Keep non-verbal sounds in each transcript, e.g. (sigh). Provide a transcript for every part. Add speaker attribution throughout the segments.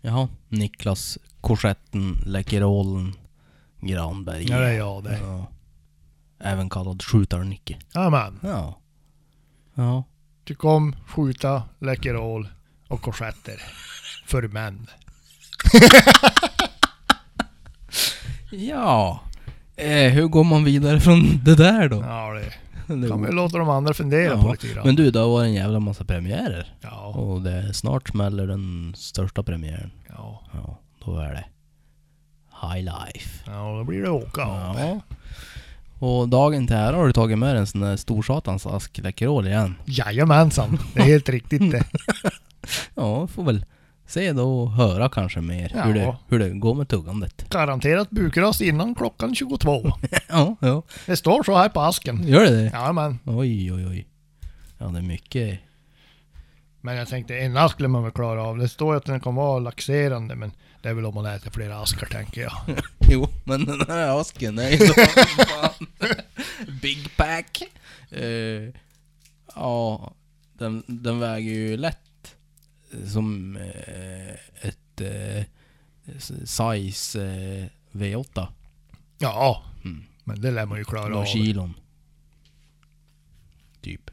Speaker 1: Jaha, Niklas Korsetten Läkerålen Granberg.
Speaker 2: Ja, det är jag det.
Speaker 1: Ja. Även kallad Skjutar-Nicke.
Speaker 2: Jajamän.
Speaker 1: Ja. Ja.
Speaker 2: Tycker om skjuta, läckerol och korsetter. För män.
Speaker 1: Ja. Eh, hur går man vidare från det där då?
Speaker 2: Ja, det
Speaker 1: (laughs) Det-
Speaker 2: kan vi låta de andra fundera
Speaker 1: Ja,
Speaker 2: på lite grann.
Speaker 1: Men du, det har varit en jävla massa premiärer.
Speaker 2: Ja,
Speaker 1: Och det snart smäller den största premiären.
Speaker 2: ja,
Speaker 1: Ja, då är det High Life.
Speaker 2: ja, då blir det åka av.
Speaker 1: Ja. Och dagen till ära har du tagit med en sån där storsatans ask Läkerol igen.
Speaker 2: Jajamensan, det är helt
Speaker 1: (laughs)
Speaker 2: riktigt det.
Speaker 1: Ja, får väl se då och höra kanske mer hur, det,
Speaker 2: Ja.
Speaker 1: hur det går med tuggandet. (clears throat)
Speaker 2: Garanterat bukras innan klockan 22.
Speaker 1: Ja, ja.
Speaker 2: Det står så här på asken.
Speaker 1: Gör det det?
Speaker 2: Jajamän.
Speaker 1: Oj, oj, oj. Ja, det är mycket.
Speaker 2: Men jag tänkte en ask lär man väl klara av. Det står ju att den kan vara laxerande men det är väl om man äter flera askar tänker jag.
Speaker 1: Jo, men den här asken är ju så fan. Big pack. Eh, ja, den, den väger ju lätt som eh, ett eh, s- size eh, V8.
Speaker 2: Ja,
Speaker 1: Mm.
Speaker 2: men det lär man ju klara
Speaker 1: Några
Speaker 2: av.
Speaker 1: kilon. Typ.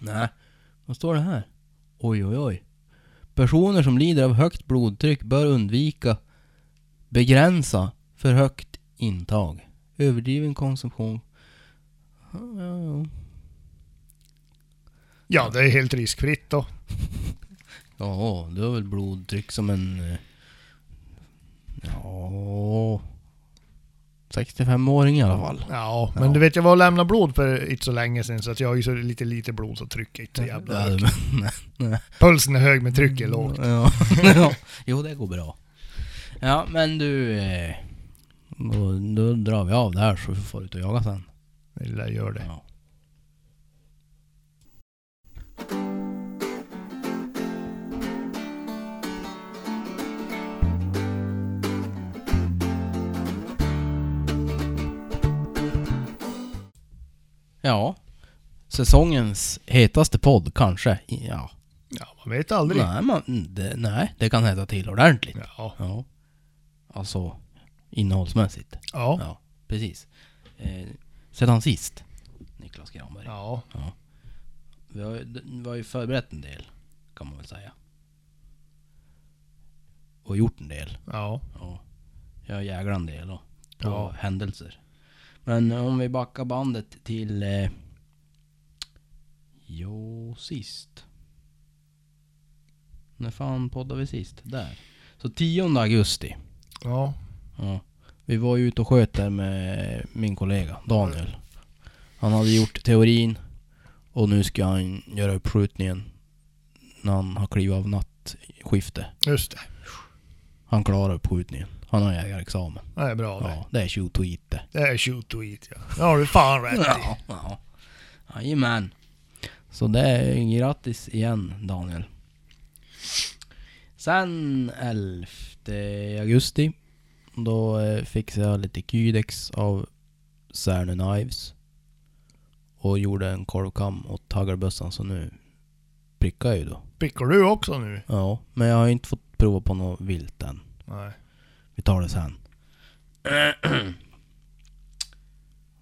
Speaker 1: Nej, vad står det här? Oj, oj, oj. Personer som lider av högt blodtryck bör undvika begränsa för högt intag. Överdriven konsumtion. Ja, ja, ja.
Speaker 2: Ja, det är helt riskfritt då.
Speaker 1: Ja, du har väl blodtryck som en... eh, Ja... 65-åring i alla fall.
Speaker 2: Ja,
Speaker 1: Typ. Ja.
Speaker 2: men du vet jag var och lämnade blod för inte så länge sedan så att jag har ju så lite lite blod så trycket är inte så jävla
Speaker 1: Ja,
Speaker 2: högt.
Speaker 1: men-
Speaker 2: Pulsen är hög men trycket är lågt.
Speaker 1: Ja, ja. (laughs) Jo, det går bra. Ja, men du... eh, Då, då drar vi av det här så får du ut och jaga sen.
Speaker 2: Det lär gör det.
Speaker 1: Ja. Ja, säsongens hetaste podd kanske. Ja,
Speaker 2: Ja, man vet aldrig.
Speaker 1: nej, man, mm, det, nej, det kan heta till ordentligt.
Speaker 2: Ja.
Speaker 1: Ja. Alltså innehållsmässigt.
Speaker 2: Ja.
Speaker 1: Ja, precis. Eh, sedan sist, Niklas Granberg.
Speaker 2: Ja.
Speaker 1: Vi, har, ju- vi har ju förberett en del, kan man väl säga. Och gjort en del.
Speaker 2: Ja.
Speaker 1: Ja. Jag har jäglat en del och, på
Speaker 2: Ja.
Speaker 1: händelser. Men om vi backar bandet till... Eh, jo, sist. När fan poddade vi sist? Där. Så 10 augusti.
Speaker 2: Ja.
Speaker 1: Ja. Vi var ju ute och sköt där med min kollega Daniel. Han hade gjort teorin och nu ska han göra uppskjutningen när han har klivit av nattskifte.
Speaker 2: Just det.
Speaker 1: Han klarar uppskjutningen. Han har jägarexamen.
Speaker 2: Det är bra det.
Speaker 1: Ja, det är tjo och inte.
Speaker 2: Det är shoot to eat ja. Det har du fan rätt i.
Speaker 1: Ja, ja. Jajamän. Så det är grattis igen Daniel. Sen 11 augusti. Då eh, fixade jag lite kydex av Särnö Knives. Och gjorde en korvkam åt hagelbössan så nu prickar jag ju då.
Speaker 2: Pickar du också nu?
Speaker 1: Ja, men jag har ju inte fått prova på något vilt än.
Speaker 2: Nej.
Speaker 1: Vi tar det sen.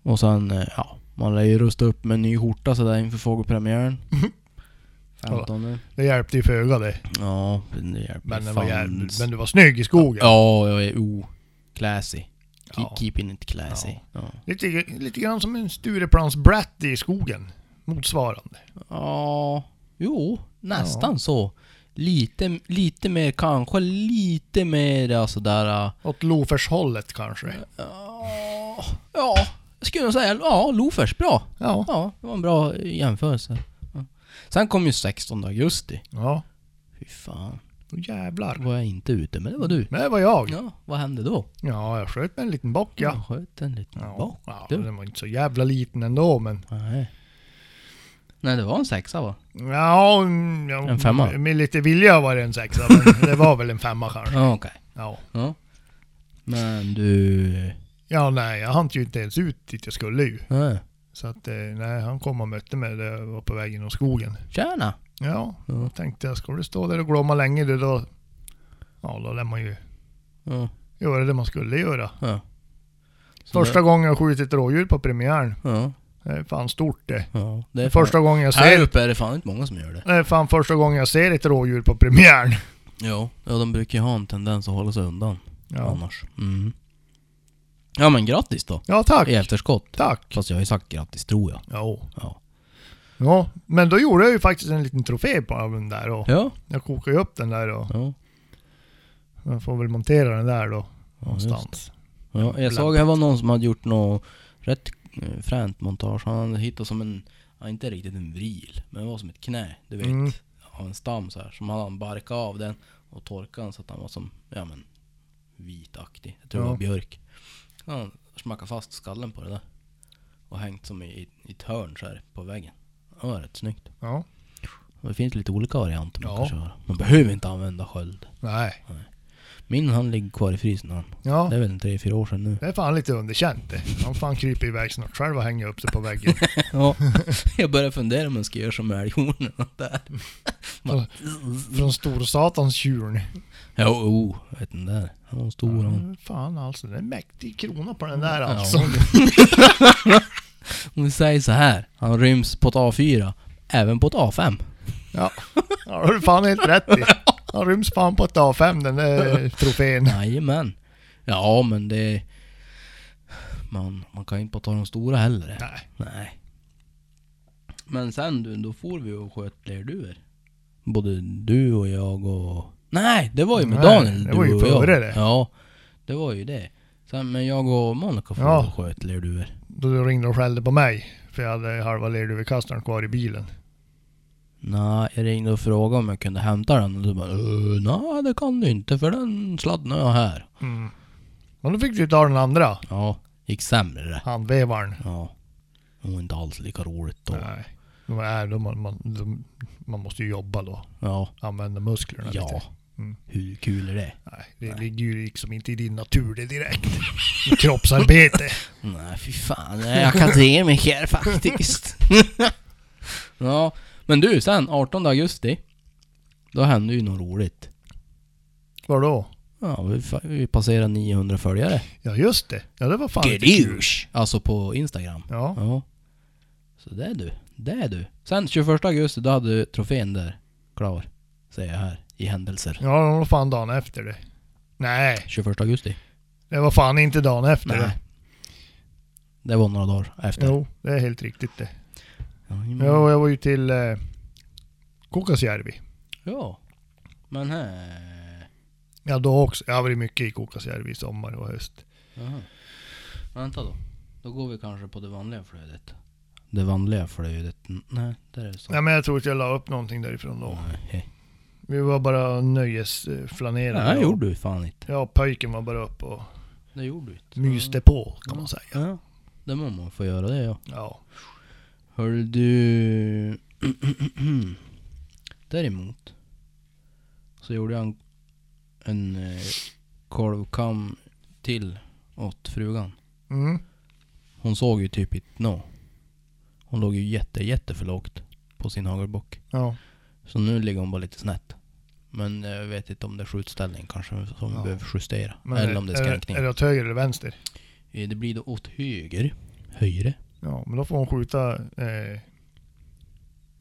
Speaker 1: Och sen, eh, ja. Man lär ju rusta upp med en ny skjorta sådär inför fågelpremiären. 15
Speaker 2: Det hjälpte ju föga det.
Speaker 1: Ja, men det hjälper
Speaker 2: Men, den
Speaker 1: fan.
Speaker 2: var jävligt, men du var snygg i skogen.
Speaker 1: Ja, jag är o... Classy. Keep,
Speaker 2: Ja.
Speaker 1: Keeping it classy. Ja.
Speaker 2: Ja.
Speaker 1: Ja.
Speaker 2: Lite, lite grann som en Stureplans brat i skogen. Motsvarande.
Speaker 1: Jo, nästan så. Lite, lite mer kanske, lite mer ja, sådär... eh,
Speaker 2: Åt lofershållet kanske.
Speaker 1: Ja, ja, jag skulle nog säga ja, Lofers. Bra.
Speaker 2: Ja.
Speaker 1: Ja, det var en bra jämförelse. Ja. Sen kom ju 16 augusti.
Speaker 2: Ja.
Speaker 1: Fy fan.
Speaker 2: Då jävlar.
Speaker 1: Då var jag inte ute, men det var du.
Speaker 2: Men det var jag.
Speaker 1: Ja, vad hände då?
Speaker 2: Ja, jag sköt med en liten bock ja.
Speaker 1: Jag sköt en liten
Speaker 2: Ja,
Speaker 1: Mm. bock.
Speaker 2: ja
Speaker 1: du.
Speaker 2: den var inte så jävla liten ändå men...
Speaker 1: Nej. Nej, det var en sexa va?
Speaker 2: Ja, mm, ja
Speaker 1: En femma.
Speaker 2: Med lite vilja var det en sexa
Speaker 1: (laughs)
Speaker 2: men det var väl en femma kanske.
Speaker 1: Ja, okej.
Speaker 2: Ja.
Speaker 1: Ja. Men du...
Speaker 2: Ja, nej jag hann ju inte ens ut dit jag skulle ju.
Speaker 1: Nej.
Speaker 2: Så att eh, nej, han kom och mötte mig där jag var på väg genom skogen.
Speaker 1: Tjena!
Speaker 2: Ja,
Speaker 1: Ja.
Speaker 2: jag tänkte jag, ska du stå där och glömma länge du då Ja, då lär man ju
Speaker 1: Ja.
Speaker 2: göra det man skulle göra.
Speaker 1: ja. Så
Speaker 2: Första gången jag skjutit rådjur på premiären.
Speaker 1: det- Ja.
Speaker 2: Det är fan stort det.
Speaker 1: Ja. Det är fan,
Speaker 2: Första gången jag
Speaker 1: Här
Speaker 2: ser...
Speaker 1: uppe är det fan inte många som gör det.
Speaker 2: Det är fan första gången jag ser ett rådjur på premiären.
Speaker 1: Jo. Ja, de brukar ju ha en tendens att hålla sig undan
Speaker 2: Ja,
Speaker 1: annars. Mm. Ja men grattis då.
Speaker 2: ja tack.
Speaker 1: I efterskott.
Speaker 2: Tack.
Speaker 1: Fast jag har ju sagt grattis tror jag.
Speaker 2: Jo.
Speaker 1: Ja.
Speaker 2: Ja, men då gjorde jag ju faktiskt en liten trofé på den där och
Speaker 1: Ja.
Speaker 2: jag kokade ju upp den där och
Speaker 1: Ja.
Speaker 2: jag får väl montera den där då. Någonstans.
Speaker 1: Ja, jag
Speaker 2: Lamp.
Speaker 1: såg här var någon som hade gjort något rätt eh, fränt montage. Han hade hittat som en, ja, inte riktigt en vril, men det var som ett knä, du vet.
Speaker 2: Mm.
Speaker 1: Av en stam så här. Som hade han barkat av den och torkat den så att han var som, ja men, vitaktig. Jag tror
Speaker 2: Ja.
Speaker 1: det var björk. Så hade han smackat fast skallen på det där. Och hängt som i, i ett hörn så här på väggen. Det var rätt snyggt.
Speaker 2: Ja.
Speaker 1: Och det finns lite olika varianter man
Speaker 2: Ja.
Speaker 1: kan köra. Man behöver inte använda sköld.
Speaker 2: Nej.
Speaker 1: Min han ligger kvar i frysen han.
Speaker 2: Ja.
Speaker 1: Det är väl 3-4 år sedan nu.
Speaker 2: Det är fan lite underkänt det. Han fan kryper iväg snart själv och hänger upp sig
Speaker 1: (laughs)
Speaker 2: på väggen.
Speaker 1: Ja, jag börjar fundera om man ska göra som (laughs) älghornen och där.
Speaker 2: Från, från storsatans tjurn.
Speaker 1: Jo, oh, vet den där. Han var stor han.
Speaker 2: Mm, Fan alltså, det är en mäktig krona på den där
Speaker 1: Ja.
Speaker 2: alltså.
Speaker 1: Om vi säger så här, han ryms på ett A4, även på ett
Speaker 2: (laughs)
Speaker 1: A5.
Speaker 2: Ja, ja det har du fan helt
Speaker 1: (laughs)
Speaker 2: rätt i. Han ryms fan på ett A5 den där trofén.
Speaker 1: Jajamän. Ja, men det... Man, man kan ju inte bara ta de stora heller.
Speaker 2: Nej.
Speaker 1: Nej. Men sen du, då får vi och sköt lerduvor. Både du och jag och... Nej, det var ju med
Speaker 2: Nej,
Speaker 1: Daniel,
Speaker 2: det
Speaker 1: du
Speaker 2: var ju
Speaker 1: och jag.
Speaker 2: före det.
Speaker 1: Ja, det var ju det. Sen, men jag och Monica får
Speaker 2: Ja.
Speaker 1: och sköt lerduvor.
Speaker 2: Då ringde och skällde på mig. För jag hade halva lerduvekastaren kvar i bilen.
Speaker 1: Nej, jag ringde och frågade om jag kunde hämta den och du bara "Eh, nej det kan du inte för den sladdnar jag här.
Speaker 2: Mm. Men då fick du ta den andra.
Speaker 1: Ja, gick sämre det.
Speaker 2: Handvevaren.
Speaker 1: Ja. Det var inte alls lika roligt då.
Speaker 2: Nej. De är, de, man, man, de, man måste ju jobba då.
Speaker 1: Ja.
Speaker 2: Använda musklerna
Speaker 1: Ja.
Speaker 2: lite. Mm.
Speaker 1: Hur kul är det?
Speaker 2: Nej, det ligger ju liksom inte i din natur det direkt. (laughs) Kroppsarbete.
Speaker 1: Nej, fy
Speaker 2: (laughs)
Speaker 1: fan. Jag är akademiker faktiskt. (laughs) ja, men du sen 18 augusti. Då hände ju något roligt.
Speaker 2: Vadå?
Speaker 1: Ja, vi, fa- vi passerade 900 följare.
Speaker 2: Ja just det. Ja det var fan lite kul.
Speaker 1: Gedouche! Alltså på Instagram.
Speaker 2: Ja.
Speaker 1: Ja. Så det är du. Det är du. Sen 21 augusti, då hade du trofén där. Klar. Säger jag här. I händelser.
Speaker 2: Ja, det var fan dagen efter det. Nej,
Speaker 1: 21 augusti.
Speaker 2: det var fan inte dagen efter det.
Speaker 1: Nej. Det var några dagar efter.
Speaker 2: Jo, det är helt riktigt det.
Speaker 1: Jajamän.
Speaker 2: Jo, jag var ju till eh, Kukasjärvi.
Speaker 1: Ja. Men eh, här...
Speaker 2: Ja, då också. Jag har varit mycket i Kukasjärvi i sommar och höst.
Speaker 1: Jaha. Vänta då. Då går vi kanske på det vanliga flödet. Det vanliga flödet? N- Nej, där är det så.
Speaker 2: Nej, men jag tror inte jag la upp någonting därifrån då.
Speaker 1: Nej,
Speaker 2: Vi var bara nöjesflanerade.
Speaker 1: det gjorde du fan inte.
Speaker 2: Ja, pöjken var bara upp och
Speaker 1: Det gjorde du inte.
Speaker 2: myste på kan man säga.
Speaker 1: Ja. Det må man få göra det ja.
Speaker 2: Ja.
Speaker 1: Hör du... (clears throat) Däremot. Så gjorde jag en, en eh, korvkam till åt frugan.
Speaker 2: Mm.
Speaker 1: Hon såg ju typ inte nå. Hon låg ju jätte, jätte för lågt på sin hagelbock.
Speaker 2: Ja.
Speaker 1: Så nu ligger hon bara lite snett. Men jag vet inte om det är skjutställning kanske som vi
Speaker 2: Ja.
Speaker 1: behöver justera.
Speaker 2: Men
Speaker 1: eller om det är
Speaker 2: är,
Speaker 1: skränkning.
Speaker 2: är det åt höger eller vänster?
Speaker 1: Eh, Det blir då åt höger. Högre.
Speaker 2: Ja, men då får hon skjuta... Eh,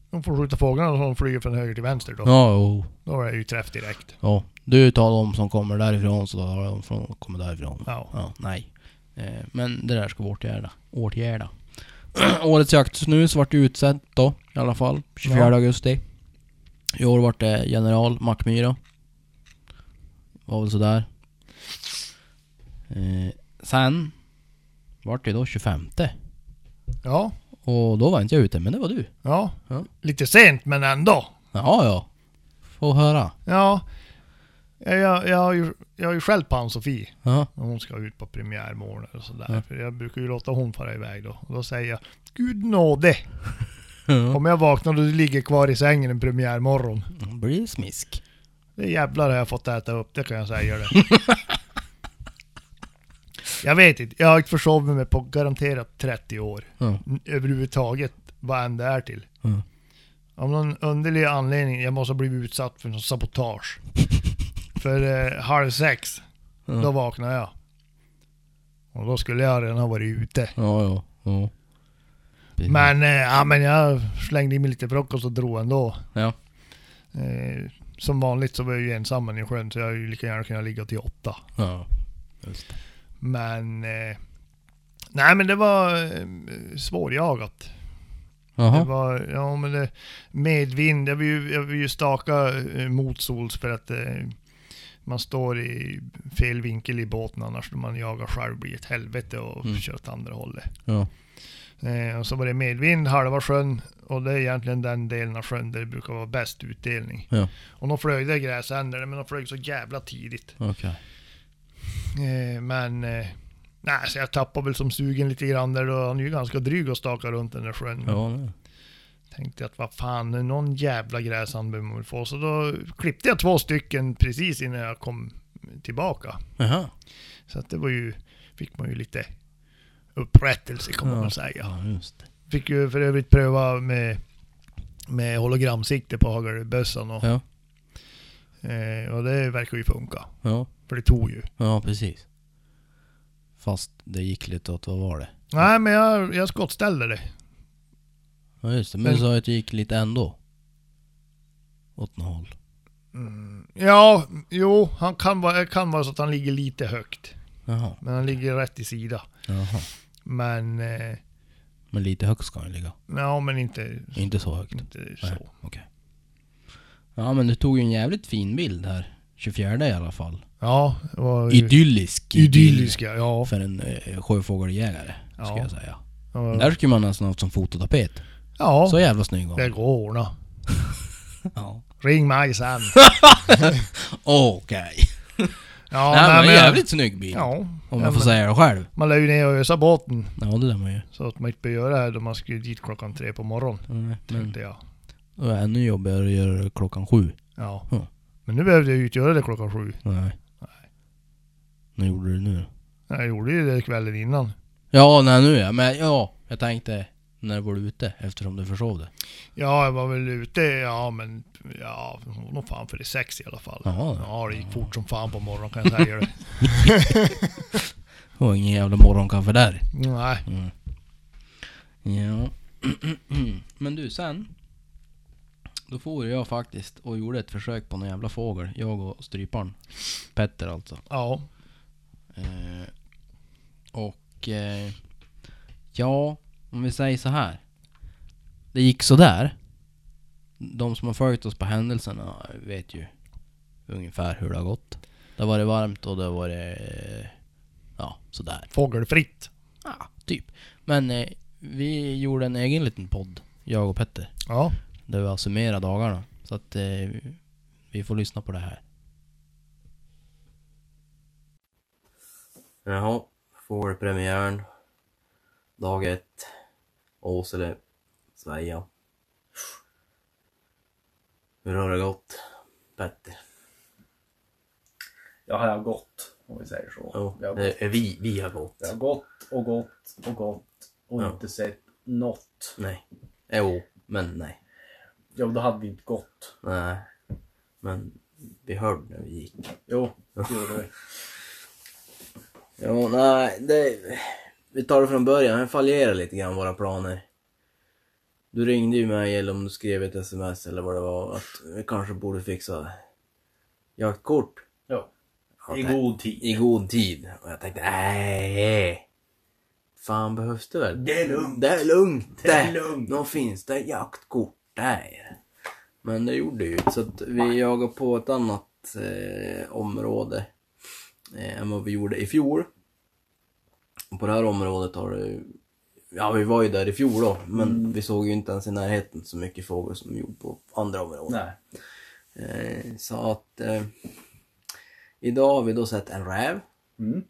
Speaker 2: hon får skjuta fåglarna som flyger från höger till vänster då.
Speaker 1: Ja, jo.
Speaker 2: Då är det ju träff direkt.
Speaker 1: ja. Du tar de som kommer därifrån så tar de som kommer därifrån.
Speaker 2: Ja.
Speaker 1: Ja, nej. Eh, Men det där ska vi åtgärda. Åtgärda. (clears throat) Årets jaktsnus vart ju utsett då i alla fall. 24
Speaker 2: Ja.
Speaker 1: augusti. I år vart det general Mackmyra. Var väl sådär. Eh, sen vart det då 25.
Speaker 2: Ja,
Speaker 1: Och då var inte jag ute, men det var du.
Speaker 2: ja.
Speaker 1: Ja.
Speaker 2: Lite sent men ändå.
Speaker 1: Ja, ja. Få höra.
Speaker 2: Ja. Jag, jag, jag, har ju, jag har ju skällt på Ann-Sofie
Speaker 1: Ja.
Speaker 2: när hon ska ut på premiärmorgon och sådär.
Speaker 1: Ja.
Speaker 2: För jag brukar ju låta hon fara iväg då. Och då säger jag Gud nåde!
Speaker 1: Ja.
Speaker 2: Om jag vaknar och du ligger kvar i sängen en premiärmorgon.
Speaker 1: Blir smisk.
Speaker 2: Det jävlar har jag fått äta upp, det kan jag säga det.
Speaker 1: (laughs)
Speaker 2: jag vet inte, jag har inte försovit mig på garanterat 30 år.
Speaker 1: Ja.
Speaker 2: N- Överhuvudtaget, vad än det är till.
Speaker 1: Ja. (laughs)
Speaker 2: Av någon underlig anledning, jag måste ha blivit utsatt för någon sabotage. För eh, halv sex,
Speaker 1: Ja.
Speaker 2: då vaknade jag. Och då skulle jag redan ha varit ute.
Speaker 1: Ja, ja. ja. Mhm.
Speaker 2: Men, eh, ja, men jag slängde i mig lite frukost och drog ändå.
Speaker 1: Ja.
Speaker 2: Eh, som vanligt så var jag ju ensam i sjön så jag hade ju lika gärna kunnat ligga till åtta.
Speaker 1: Ja. Just det.
Speaker 2: Men... Eh, nej men det var eh, svårjagat. Det
Speaker 1: Jaha.
Speaker 2: var, ja men det, medvind, jag vill ju, jag vill ju staka eh, mot sols för att eh, man står i fel vinkel i båten annars när man jagar själv blir ett helvete och
Speaker 1: Mm.
Speaker 2: kör åt andra hållet.
Speaker 1: Ja.
Speaker 2: Eh, och så var det medvind halva sjön och det är egentligen den delen av sjön där det brukar vara bäst utdelning.
Speaker 1: Ja.
Speaker 2: Och de flög det gräsänder men de flög så jävla tidigt.
Speaker 1: Okej.
Speaker 2: Eh, men eh, nej, så jag tappade väl som sugen lite grann där och han är ju ganska dryg att staka runt den där sjön.
Speaker 1: Ja, det.
Speaker 2: Tänkte att vad fan, någon jävla gräsand behöver man väl få. Så då klippte jag två stycken precis innan jag kom tillbaka.
Speaker 1: Jaha.
Speaker 2: Så att det var ju, fick man ju lite upprättelse kan man
Speaker 1: Ja.
Speaker 2: väl säga.
Speaker 1: Ja, just det.
Speaker 2: Fick ju för övrigt pröva med, med hologramsikte på hagelbössan och,
Speaker 1: Ja.
Speaker 2: eh, och det verkar ju funka.
Speaker 1: Ja.
Speaker 2: För det tog ju.
Speaker 1: Ja, precis. Fast det gick lite åt, vad var det?
Speaker 2: Nej men jag, jag skottställde det.
Speaker 1: Ja, just det. Men
Speaker 2: Men-
Speaker 1: du sa att det gick lite ändå. Åt något håll.
Speaker 2: Ja, jo, han kan vara, kan vara så att han ligger lite högt.
Speaker 1: Jaha.
Speaker 2: Men han ligger rätt i sida.
Speaker 1: Jaha.
Speaker 2: Men, eh,
Speaker 1: Men lite högt ska den ligga.
Speaker 2: ja men inte
Speaker 1: Inte så högt.
Speaker 2: Inte
Speaker 1: Nej.
Speaker 2: så.
Speaker 1: Ja, men du tog ju en jävligt fin bild här. 24 i alla fall.
Speaker 2: Ja, det var ju
Speaker 1: Idyllisk.
Speaker 2: idylliska. Ja.
Speaker 1: För en eh, sjöfågeljägare, ska
Speaker 2: Ja.
Speaker 1: jag säga.
Speaker 2: Ja.
Speaker 1: Den där skulle man nästan haft som fototapet. Så
Speaker 2: ja,
Speaker 1: jävla snygg var
Speaker 2: det
Speaker 1: den.
Speaker 2: går att ordna.
Speaker 1: Ja.
Speaker 2: Ring
Speaker 1: (laughs)
Speaker 2: mig sen.
Speaker 1: Okej.
Speaker 2: Ja,
Speaker 1: Nej, men
Speaker 2: men-
Speaker 1: jävligt snygg bild.
Speaker 2: Ja,
Speaker 1: Om
Speaker 2: ja,
Speaker 1: jag får
Speaker 2: men-
Speaker 1: säga det själv.
Speaker 2: man lär ju ner och ösa båten.
Speaker 1: Ja, det där man ju.
Speaker 2: Så att man inte behöver göra det här då man skulle dit klockan tre på morgonen.
Speaker 1: Mm, Men
Speaker 2: Tänkte jag.
Speaker 1: det är ännu jobbigare att göra det klockan sju.
Speaker 2: Ja.
Speaker 1: Ja.
Speaker 2: Men nu behövde jag ju inte göra det klockan sju.
Speaker 1: Nej. Nu gjorde du det nu då?
Speaker 2: Jag gjorde ju det kvällen innan.
Speaker 1: Ja, nej nu ja. Men ja, jag tänkte när du var ute eftersom du försov det.
Speaker 2: Ja, jag var väl ute, ja men... Ja, hon var nog fan för det sex i alla fall.
Speaker 1: Ja.
Speaker 2: ja det gick fort som fan på morgonen kan jag säga det.
Speaker 1: (laughs) Det var ingen jävla morgonkaffe där.
Speaker 2: Nej.
Speaker 1: Ja. (clears throat) Men du sen. Då for jag faktiskt och gjorde ett försök på någon jävla fågel. Jag och stryparen. Petter alltså.
Speaker 2: Ja.
Speaker 1: Eh, och eh, ja, om vi säger så här. Det gick så där. De som har följt oss på händelserna vet ju ungefär hur det har gått. Det har varit varmt och det har varit... eh, Ja, sådär.
Speaker 2: Fågelfritt.
Speaker 1: Ja, typ. Men eh, vi gjorde en egen liten podd, jag och Petter.
Speaker 2: Ja.
Speaker 1: Där vi har summerat dagarna. Så att eh, vi får lyssna på det här.
Speaker 3: Jaha, fågelpremiären. Dag ett. Åsele, Sveja. Hur har det gått, Petter?
Speaker 4: Ja, här har gått, om vi säger så.
Speaker 3: Jo,
Speaker 4: Jag har gått.
Speaker 3: det är eh, vi, vi har gått.
Speaker 4: Jag har gått och gått och gått och
Speaker 3: Ja.
Speaker 4: inte sett något.
Speaker 3: Nej. Jo, men nej.
Speaker 4: Ja, då hade vi inte gått.
Speaker 3: Nej. Men vi hörde när vi gick.
Speaker 4: Jo, det gjorde vi.
Speaker 3: Jo, nej. Det... Vi tar det från början. Den fallerade lite grann, våra planer. Du ringde ju mig eller om du skrev ett sms eller vad det var att vi kanske borde fixa jaktkort.
Speaker 4: Ja.
Speaker 3: Ja,
Speaker 4: I
Speaker 3: det-
Speaker 4: god tid.
Speaker 3: i god tid. Och jag tänkte, nej. Fan behövs det väl?
Speaker 4: Det är lugnt.
Speaker 3: Det är lugnt.
Speaker 4: Det är lugnt.
Speaker 3: Nå finns det jaktkort där. Men det gjorde ju så att vi jagade på ett annat eh, område eh, än vad vi gjorde i fjol. Och på det här området har det Ja, vi var ju där i fjol då, men
Speaker 4: Mm.
Speaker 3: vi såg ju inte ens i närheten så mycket fågel som vi gjorde på andra områden.
Speaker 4: Nej.
Speaker 3: Eh, så att eh, idag har vi då sett en räv.
Speaker 4: Mm.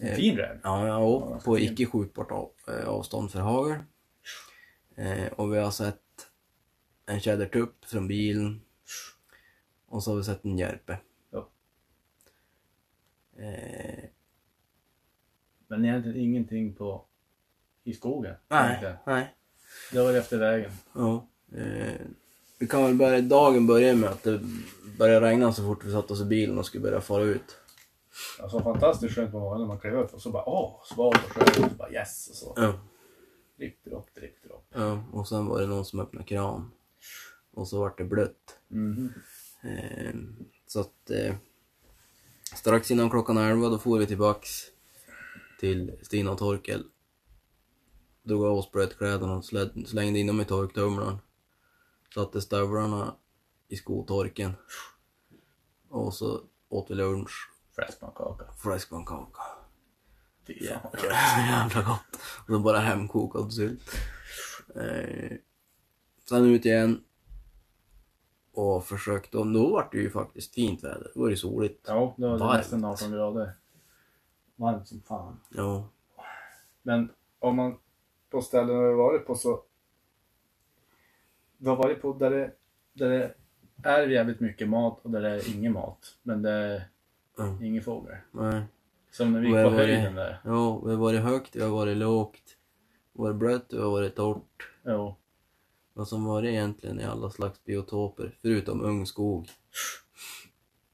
Speaker 3: Eh,
Speaker 4: Fin räv.
Speaker 3: Ja, ja och på icke skjutbart av, eh, avstånd för hagel. Eh, och vi har sett en tjädertupp från bilen. Och så har vi sett en järpe.
Speaker 4: Ja.
Speaker 3: Eh,
Speaker 4: Men egentligen ingenting på i skogen.
Speaker 3: nej,
Speaker 4: Inte.
Speaker 3: nej.
Speaker 4: Det var efter vägen.
Speaker 3: Ja, eh, Vi kan väl börja, dagen börjar med att det började regna så fort vi satte oss i bilen och skulle börja fara ut.
Speaker 5: Alltså fantastiskt skönt på morgonen när man klev upp och så bara åh, sval och skön. Och så bara yes och så.
Speaker 3: Ja.
Speaker 5: Dripp, dropp, dripp, dropp.
Speaker 3: Ja, och sen var det någon som öppnade kran. Och så vart det blött. Eh, så att eh, strax innan klockan 11 då for vi tillbaks till Stina och Torkel. Drog av oss blötkläderna och slä- slängde in dem i torktumlaren. Satte stövlarna i skotorken. Och så åt vi lunch,
Speaker 5: Fläskpannkaka.
Speaker 3: fläskpannkaka.
Speaker 5: Fy fan
Speaker 3: Ja,
Speaker 5: vad
Speaker 3: så
Speaker 5: gött.
Speaker 3: (laughs) jävla gott. Och så bara hemkokad sylt. Eh, sen ut igen. Och försökte, och då var det ju faktiskt fint väder. Då var det soligt.
Speaker 5: Ja, det var
Speaker 3: Varmt.
Speaker 5: nästan 18 grader. Varmt som fan.
Speaker 3: Ja.
Speaker 5: Men om man på ställen vi har varit på så... Vi har varit på där det, där det är jävligt mycket mat och där det är ingen mat. Men det är
Speaker 3: Mm.
Speaker 5: ingen fågel.
Speaker 3: Nej.
Speaker 5: Som när vi gick
Speaker 3: Vad
Speaker 5: på
Speaker 3: var det?
Speaker 5: höjden där.
Speaker 3: Ja, vi har varit högt, vi har varit lågt. Vi har varit blött, vi har varit torrt.
Speaker 5: Jo.
Speaker 3: Vad som var det egentligen i alla slags biotoper, förutom ung skog.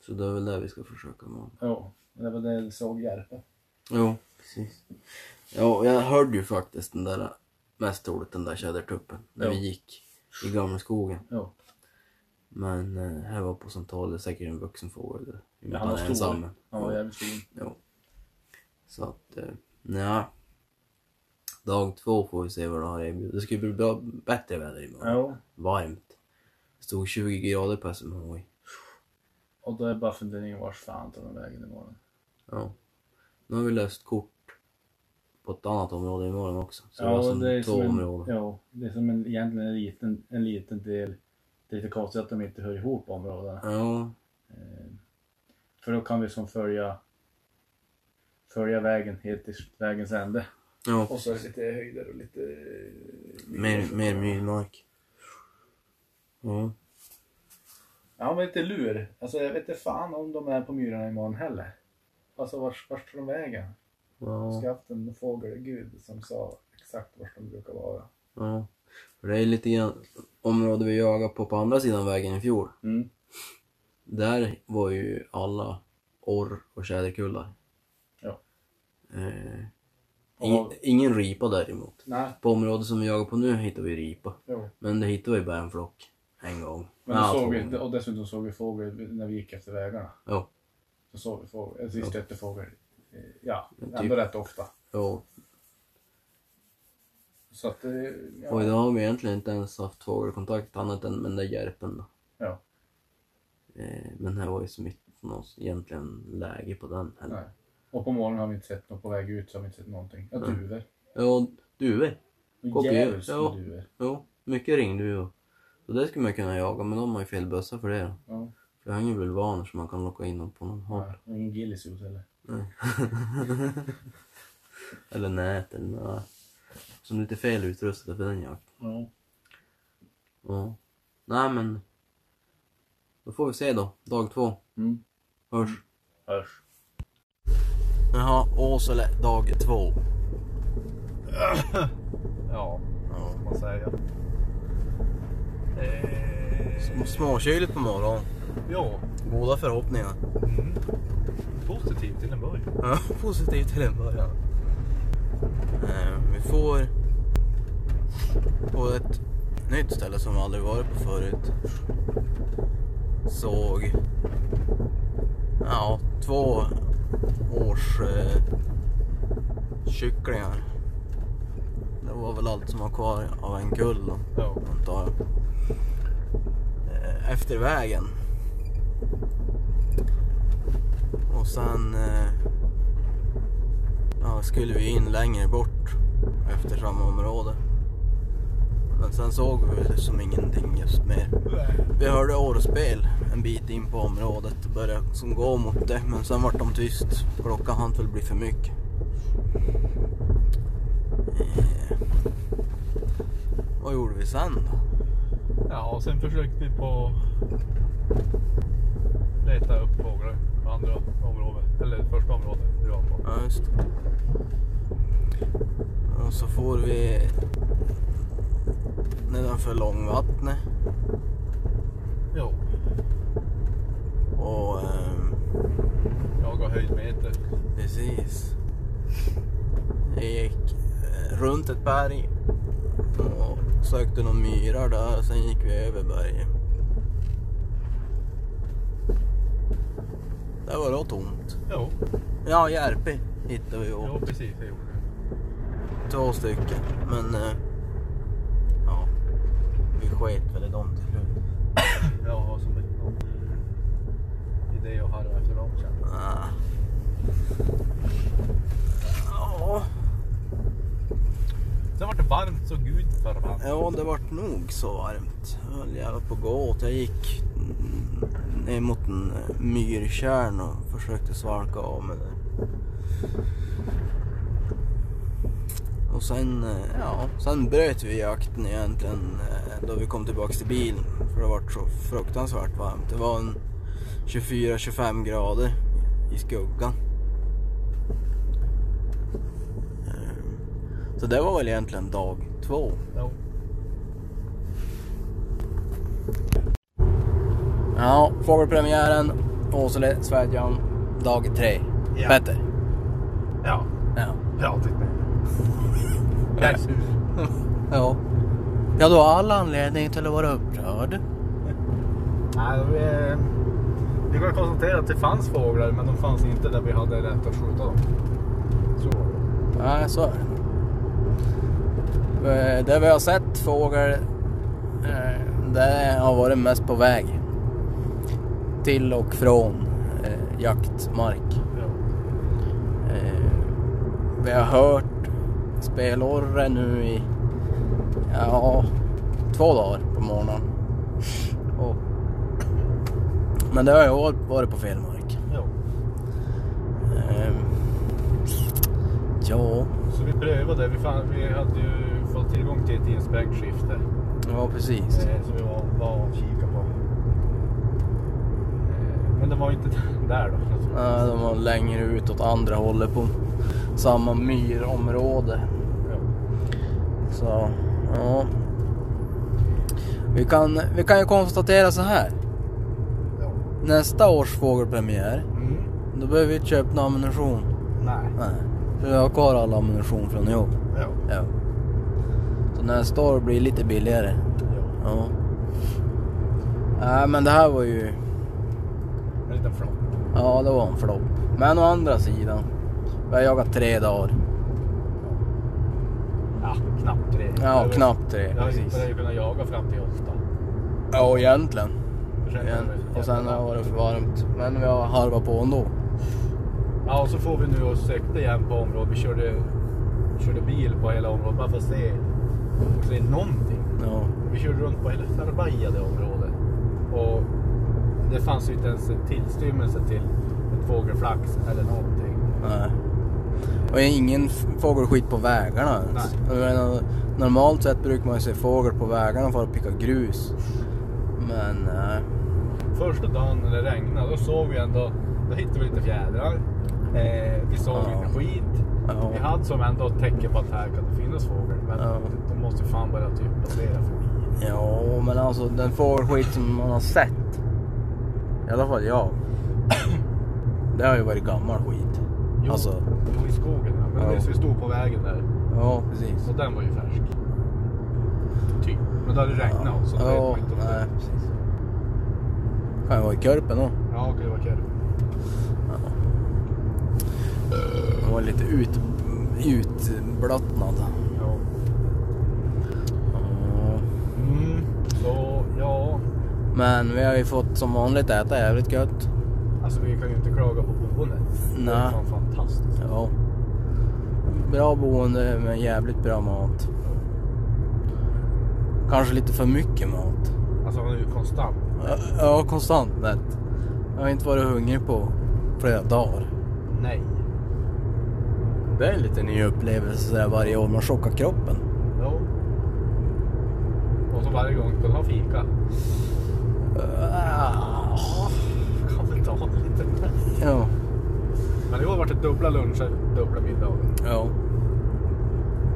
Speaker 3: Så det är väl det vi ska försöka med.
Speaker 5: Jo. Det var det vi såg Järpe.
Speaker 3: Jo, precis. Ja, jag hörde ju faktiskt den där, mest troligt den där tjädertuppen när vi
Speaker 5: Ja.
Speaker 3: gick i gammelskogen.
Speaker 5: Jo.
Speaker 3: Men eh, här var på central, det är säkert en vuxen fågel. där. I och med
Speaker 5: Ja,
Speaker 3: att Han är ensam.
Speaker 5: Han var jävligt stor.
Speaker 3: Jo. Så att, eh, nja. Dag två får vi se vad det har erbjudit. Det ska ju bli bra, bättre väder imorgon.
Speaker 5: Jo.
Speaker 3: Varmt. Det stod 20 grader på SMHI.
Speaker 5: Och då är bara funderingen vars fan tar de vägen imorgon.
Speaker 3: Ja. Nu har vi löst kort på ett annat område imorgon också. Så det var
Speaker 5: Ja,
Speaker 3: som
Speaker 5: det är
Speaker 3: två
Speaker 5: som en,
Speaker 3: områden.
Speaker 5: jo, det är som en, egentligen en liten, en liten del. Det är lite konstigt att de inte hör ihop områdena.
Speaker 3: ja.
Speaker 5: Eh, För då kan vi som följa följa vägen helt till vägens ände.
Speaker 3: Ja,
Speaker 5: Och så är det lite höjder och lite...
Speaker 3: mer, mer myrmark. Ja.
Speaker 5: Ja men lite lur. Alltså jag vet inte fan om de är på myrarna imorgon heller. Alltså vars, vars tar de vägen? Jag
Speaker 3: Ja.
Speaker 5: ska haft en fågelgud som sa exakt vart de brukar vara.
Speaker 3: ja. För det är lite grann område vi jagar på på andra sidan vägen i fjol.
Speaker 5: Mm.
Speaker 3: Där var ju alla orr och tjäderkullar.
Speaker 5: Ja.
Speaker 3: Eh,
Speaker 5: Och-
Speaker 3: ing- ingen ripa däremot.
Speaker 5: Nej,
Speaker 3: På området som vi jagar på nu hittar vi ripa.
Speaker 5: jo.
Speaker 3: Men det hittade vi bara en flock. En gång.
Speaker 5: Men då
Speaker 3: Ja, två
Speaker 5: såg vi,
Speaker 3: gånger.
Speaker 5: och dessutom såg vi fågel när vi gick efter vägarna.
Speaker 3: Ja.
Speaker 5: Så såg vi fågel, alltså vi stötte fågel. eh, Ja,
Speaker 3: Men
Speaker 5: ändå
Speaker 3: typ-
Speaker 5: rätt ofta.
Speaker 3: ja.
Speaker 5: Så att det... Ja.
Speaker 3: Och idag har vi egentligen inte ens haft fågelkontakt annat än med den där järpen då.
Speaker 5: Ja.
Speaker 3: Eh, men här var ju som inte något egentligen läge på den heller.
Speaker 5: Nej. Och på morgonen har vi inte sett något. På väg ut så har vi inte sett någonting. Ja,
Speaker 3: Mm.
Speaker 5: duvor.
Speaker 3: Ja, duvor.
Speaker 5: Och
Speaker 3: Kopior,
Speaker 5: Djävulskt
Speaker 3: ja.
Speaker 5: med duvor.
Speaker 3: Jo, mycket ringduvor. Så det skulle man kunna jaga, men de har ju fel bössa för det då.
Speaker 5: Ja.
Speaker 3: För jag har ingen bulvaner som man kan locka in dem på någon håll.
Speaker 5: Ja. Och ingen gillisot heller.
Speaker 3: (laughs) Eller nät eller något. Som lite fel utrustade för den jakten.
Speaker 5: Ja.
Speaker 3: Ja. Nej men. Då får vi se då. Dag två.
Speaker 5: Mm.
Speaker 3: Hörs.
Speaker 5: Hörs.
Speaker 3: Jaha, Åsele dag två.
Speaker 5: Ja,
Speaker 3: Ja.
Speaker 5: får man säga.
Speaker 3: Små- Småkyligt på morgonen.
Speaker 6: Ja,
Speaker 3: Goda förhoppningar.
Speaker 6: positivt till en början.
Speaker 3: Ja, positivt till en början. Eh, Vi får på ett nytt ställe som vi aldrig varit på förut. Såg ja, två års eh, kycklingar. Det var väl allt som var kvar av en kull då,
Speaker 5: Ja.
Speaker 3: antar jag. Eh, Efter vägen. Och sen eh, ja, skulle vi in längre bort efter samma område. Men sen såg vi väl som ingenting just mer. Vi hörde orrspel en bit in på området och började som gå mot det men sen vart de tyst. Klockan hann väl bli för mycket. Eh, vad gjorde vi sen då?
Speaker 6: Ja, och sen försökte vi på leta upp fåglar på andra området. Eller första området vi var på.
Speaker 3: Ja, just det. Och så får vi nedanför Långvattnet.
Speaker 5: Jo,
Speaker 3: Och ehm,
Speaker 5: jag har höjdmeter.
Speaker 3: precis. Jag gick eh, runt ett berg och sökte några myrar där. Sen gick vi över berget. Där var det tomt.
Speaker 5: Jo,
Speaker 3: Ja, Järpi hittade vi
Speaker 5: ja,
Speaker 3: och
Speaker 5: precis. Jag gjorde det.
Speaker 3: två stycken. Men eh, ja, vi sket väl i dem till slut.
Speaker 5: Jag har som en någon idé att harva efter dem känner jag.
Speaker 3: Ah. Ja,
Speaker 5: Sen vart det varmt så gud förbannat.
Speaker 3: ja, det vart nog så varmt. Jag höll jävla på att gå åt. Jag gick mm, ner mot en eh, myrkärn och försökte svalka av mig det. Och sen, eh, ja, sen bröt vi jakten egentligen eh, då vi kom tillbaks till bilen. För det vart så fruktansvärt varmt. Det var en 24-25 grader i skuggan. Ehm, Så det var väl egentligen dag två.
Speaker 5: Jo.
Speaker 3: Ja, fågelpremiären, Åsele, Svedjan, dag tre.
Speaker 5: Ja.
Speaker 3: Petter.
Speaker 5: Ja,
Speaker 3: Ja.
Speaker 5: ja typ det. Jag är sur.
Speaker 3: ja. Ja, du har all anledning till att vara upprörd.
Speaker 5: Nej, vi, vi kan konstatera att det fanns fåglar, men de fanns inte där vi hade rätt att skjuta dem. Så.
Speaker 3: Nej, så är det. Eh, Det vi har sett fågel, eh, det har varit mest på väg. Till och från eh, jaktmark.
Speaker 5: Ja.
Speaker 3: Eh, vi har hört spelorre nu i ja, två dagar på morgonen. Och, men det har ju varit- varit på fel mark.
Speaker 5: Ja.
Speaker 3: Eh, ja,
Speaker 5: Så vi prövade. Vi, fann, vi hade ju fått tillgång till ett inspänt skifte
Speaker 3: ja precis.
Speaker 5: eh, som vi var, var och kikade på. Eh, men det var ju inte (laughs) där då. Alltså,
Speaker 3: Eh, de var längre ut åt andra hållet på samma myrområde.
Speaker 5: Ja.
Speaker 3: Så, ja. Vi kan, vi kan ju konstatera så här.
Speaker 5: Ja.
Speaker 3: Nästa års fågelpremiär
Speaker 5: Mm.
Speaker 3: Då behöver vi inte köpa någon ammunition.
Speaker 5: Nej.
Speaker 3: Nej. För jag har kvar all ammunition från i år.
Speaker 5: Ja.
Speaker 3: Ja. Så nästa år blir det lite billigare.
Speaker 5: ja.
Speaker 3: Ja. Nej men det här var ju...
Speaker 5: En liten flock.
Speaker 3: Ja det var en flopp. Men å andra sidan. Vi har jagat tre dagar.
Speaker 5: Ja, knappt tre.
Speaker 3: Ja knappt tre.
Speaker 5: Jag
Speaker 3: Precis.
Speaker 5: hade ju kunnat jaga fram till åtta.
Speaker 3: Ja egentligen.
Speaker 5: Jag kände
Speaker 3: Igen.
Speaker 5: mig så
Speaker 3: Och sen
Speaker 5: jävla-
Speaker 3: har det varit för varmt. Men vi har harvat på ändå.
Speaker 5: Ja, och så får vi nu och sökte igen på området. Vi körde, körde bil på hela området bara för att se, se någonting.
Speaker 3: Ja.
Speaker 5: Vi körde runt på hela förvajade området. Och det fanns ju inte ens en tillstymmelse till ett fågelflax eller någonting.
Speaker 3: Nej. Och ingen f- fågelskit på vägarna ens. Jag menar, normalt sett brukar man ju se fågel på vägarna för att picka grus. Men nej.
Speaker 5: Första dagen när det regnade, då såg vi ändå, då hittade vi lite fjädrar. Eh, vi såg
Speaker 3: Ja.
Speaker 5: lite skit.
Speaker 3: Ja.
Speaker 5: Vi hade som ändå ett tecken på att här kan det finnas fågel. Men
Speaker 3: Ja.
Speaker 5: de måste fan börja typ passera förbi.
Speaker 3: Ja, men alltså den fågelskit som man har sett. I alla fall jag. (coughs) Det har ju varit gammal skit.
Speaker 5: Jo,
Speaker 3: Alltså,
Speaker 5: jo, i skogen. Ja. Men
Speaker 3: Ja.
Speaker 5: ja. vi stod på vägen där.
Speaker 3: ja precis.
Speaker 5: Så den var ju färsk. Typ. Men då hade det regnat också. då vet
Speaker 3: ja,
Speaker 5: man inte om det-
Speaker 3: nej, precis. Kan ju vara i Körpen då.
Speaker 5: Ja, okej, det var kul.
Speaker 3: Den var lite ut, utblottnad.
Speaker 5: Ja.
Speaker 3: Ja.
Speaker 5: Mm. Så, ja.
Speaker 3: Men vi har ju fått som vanligt äta jävligt gött.
Speaker 5: Alltså vi kan ju inte klaga på boendet. Det är
Speaker 3: Nej.
Speaker 5: fan fantastiskt.
Speaker 3: Ja. Bra boende med jävligt bra mat. Kanske lite för mycket mat.
Speaker 5: Alltså han är ju konstant.
Speaker 3: Ja, Ja, konstant mätt. Jag har inte varit hungrig på flera dagar.
Speaker 5: Nej.
Speaker 3: Det är en liten ny upplevelse sådär varje år. Man chockar kroppen.
Speaker 5: Jo. Och så varje gång ska du ha fika.
Speaker 3: Ah,
Speaker 5: Kan väl ta det lite.
Speaker 3: Ja.
Speaker 5: Men i år vart det dubbla luncher, dubbla middagar.
Speaker 3: Ja.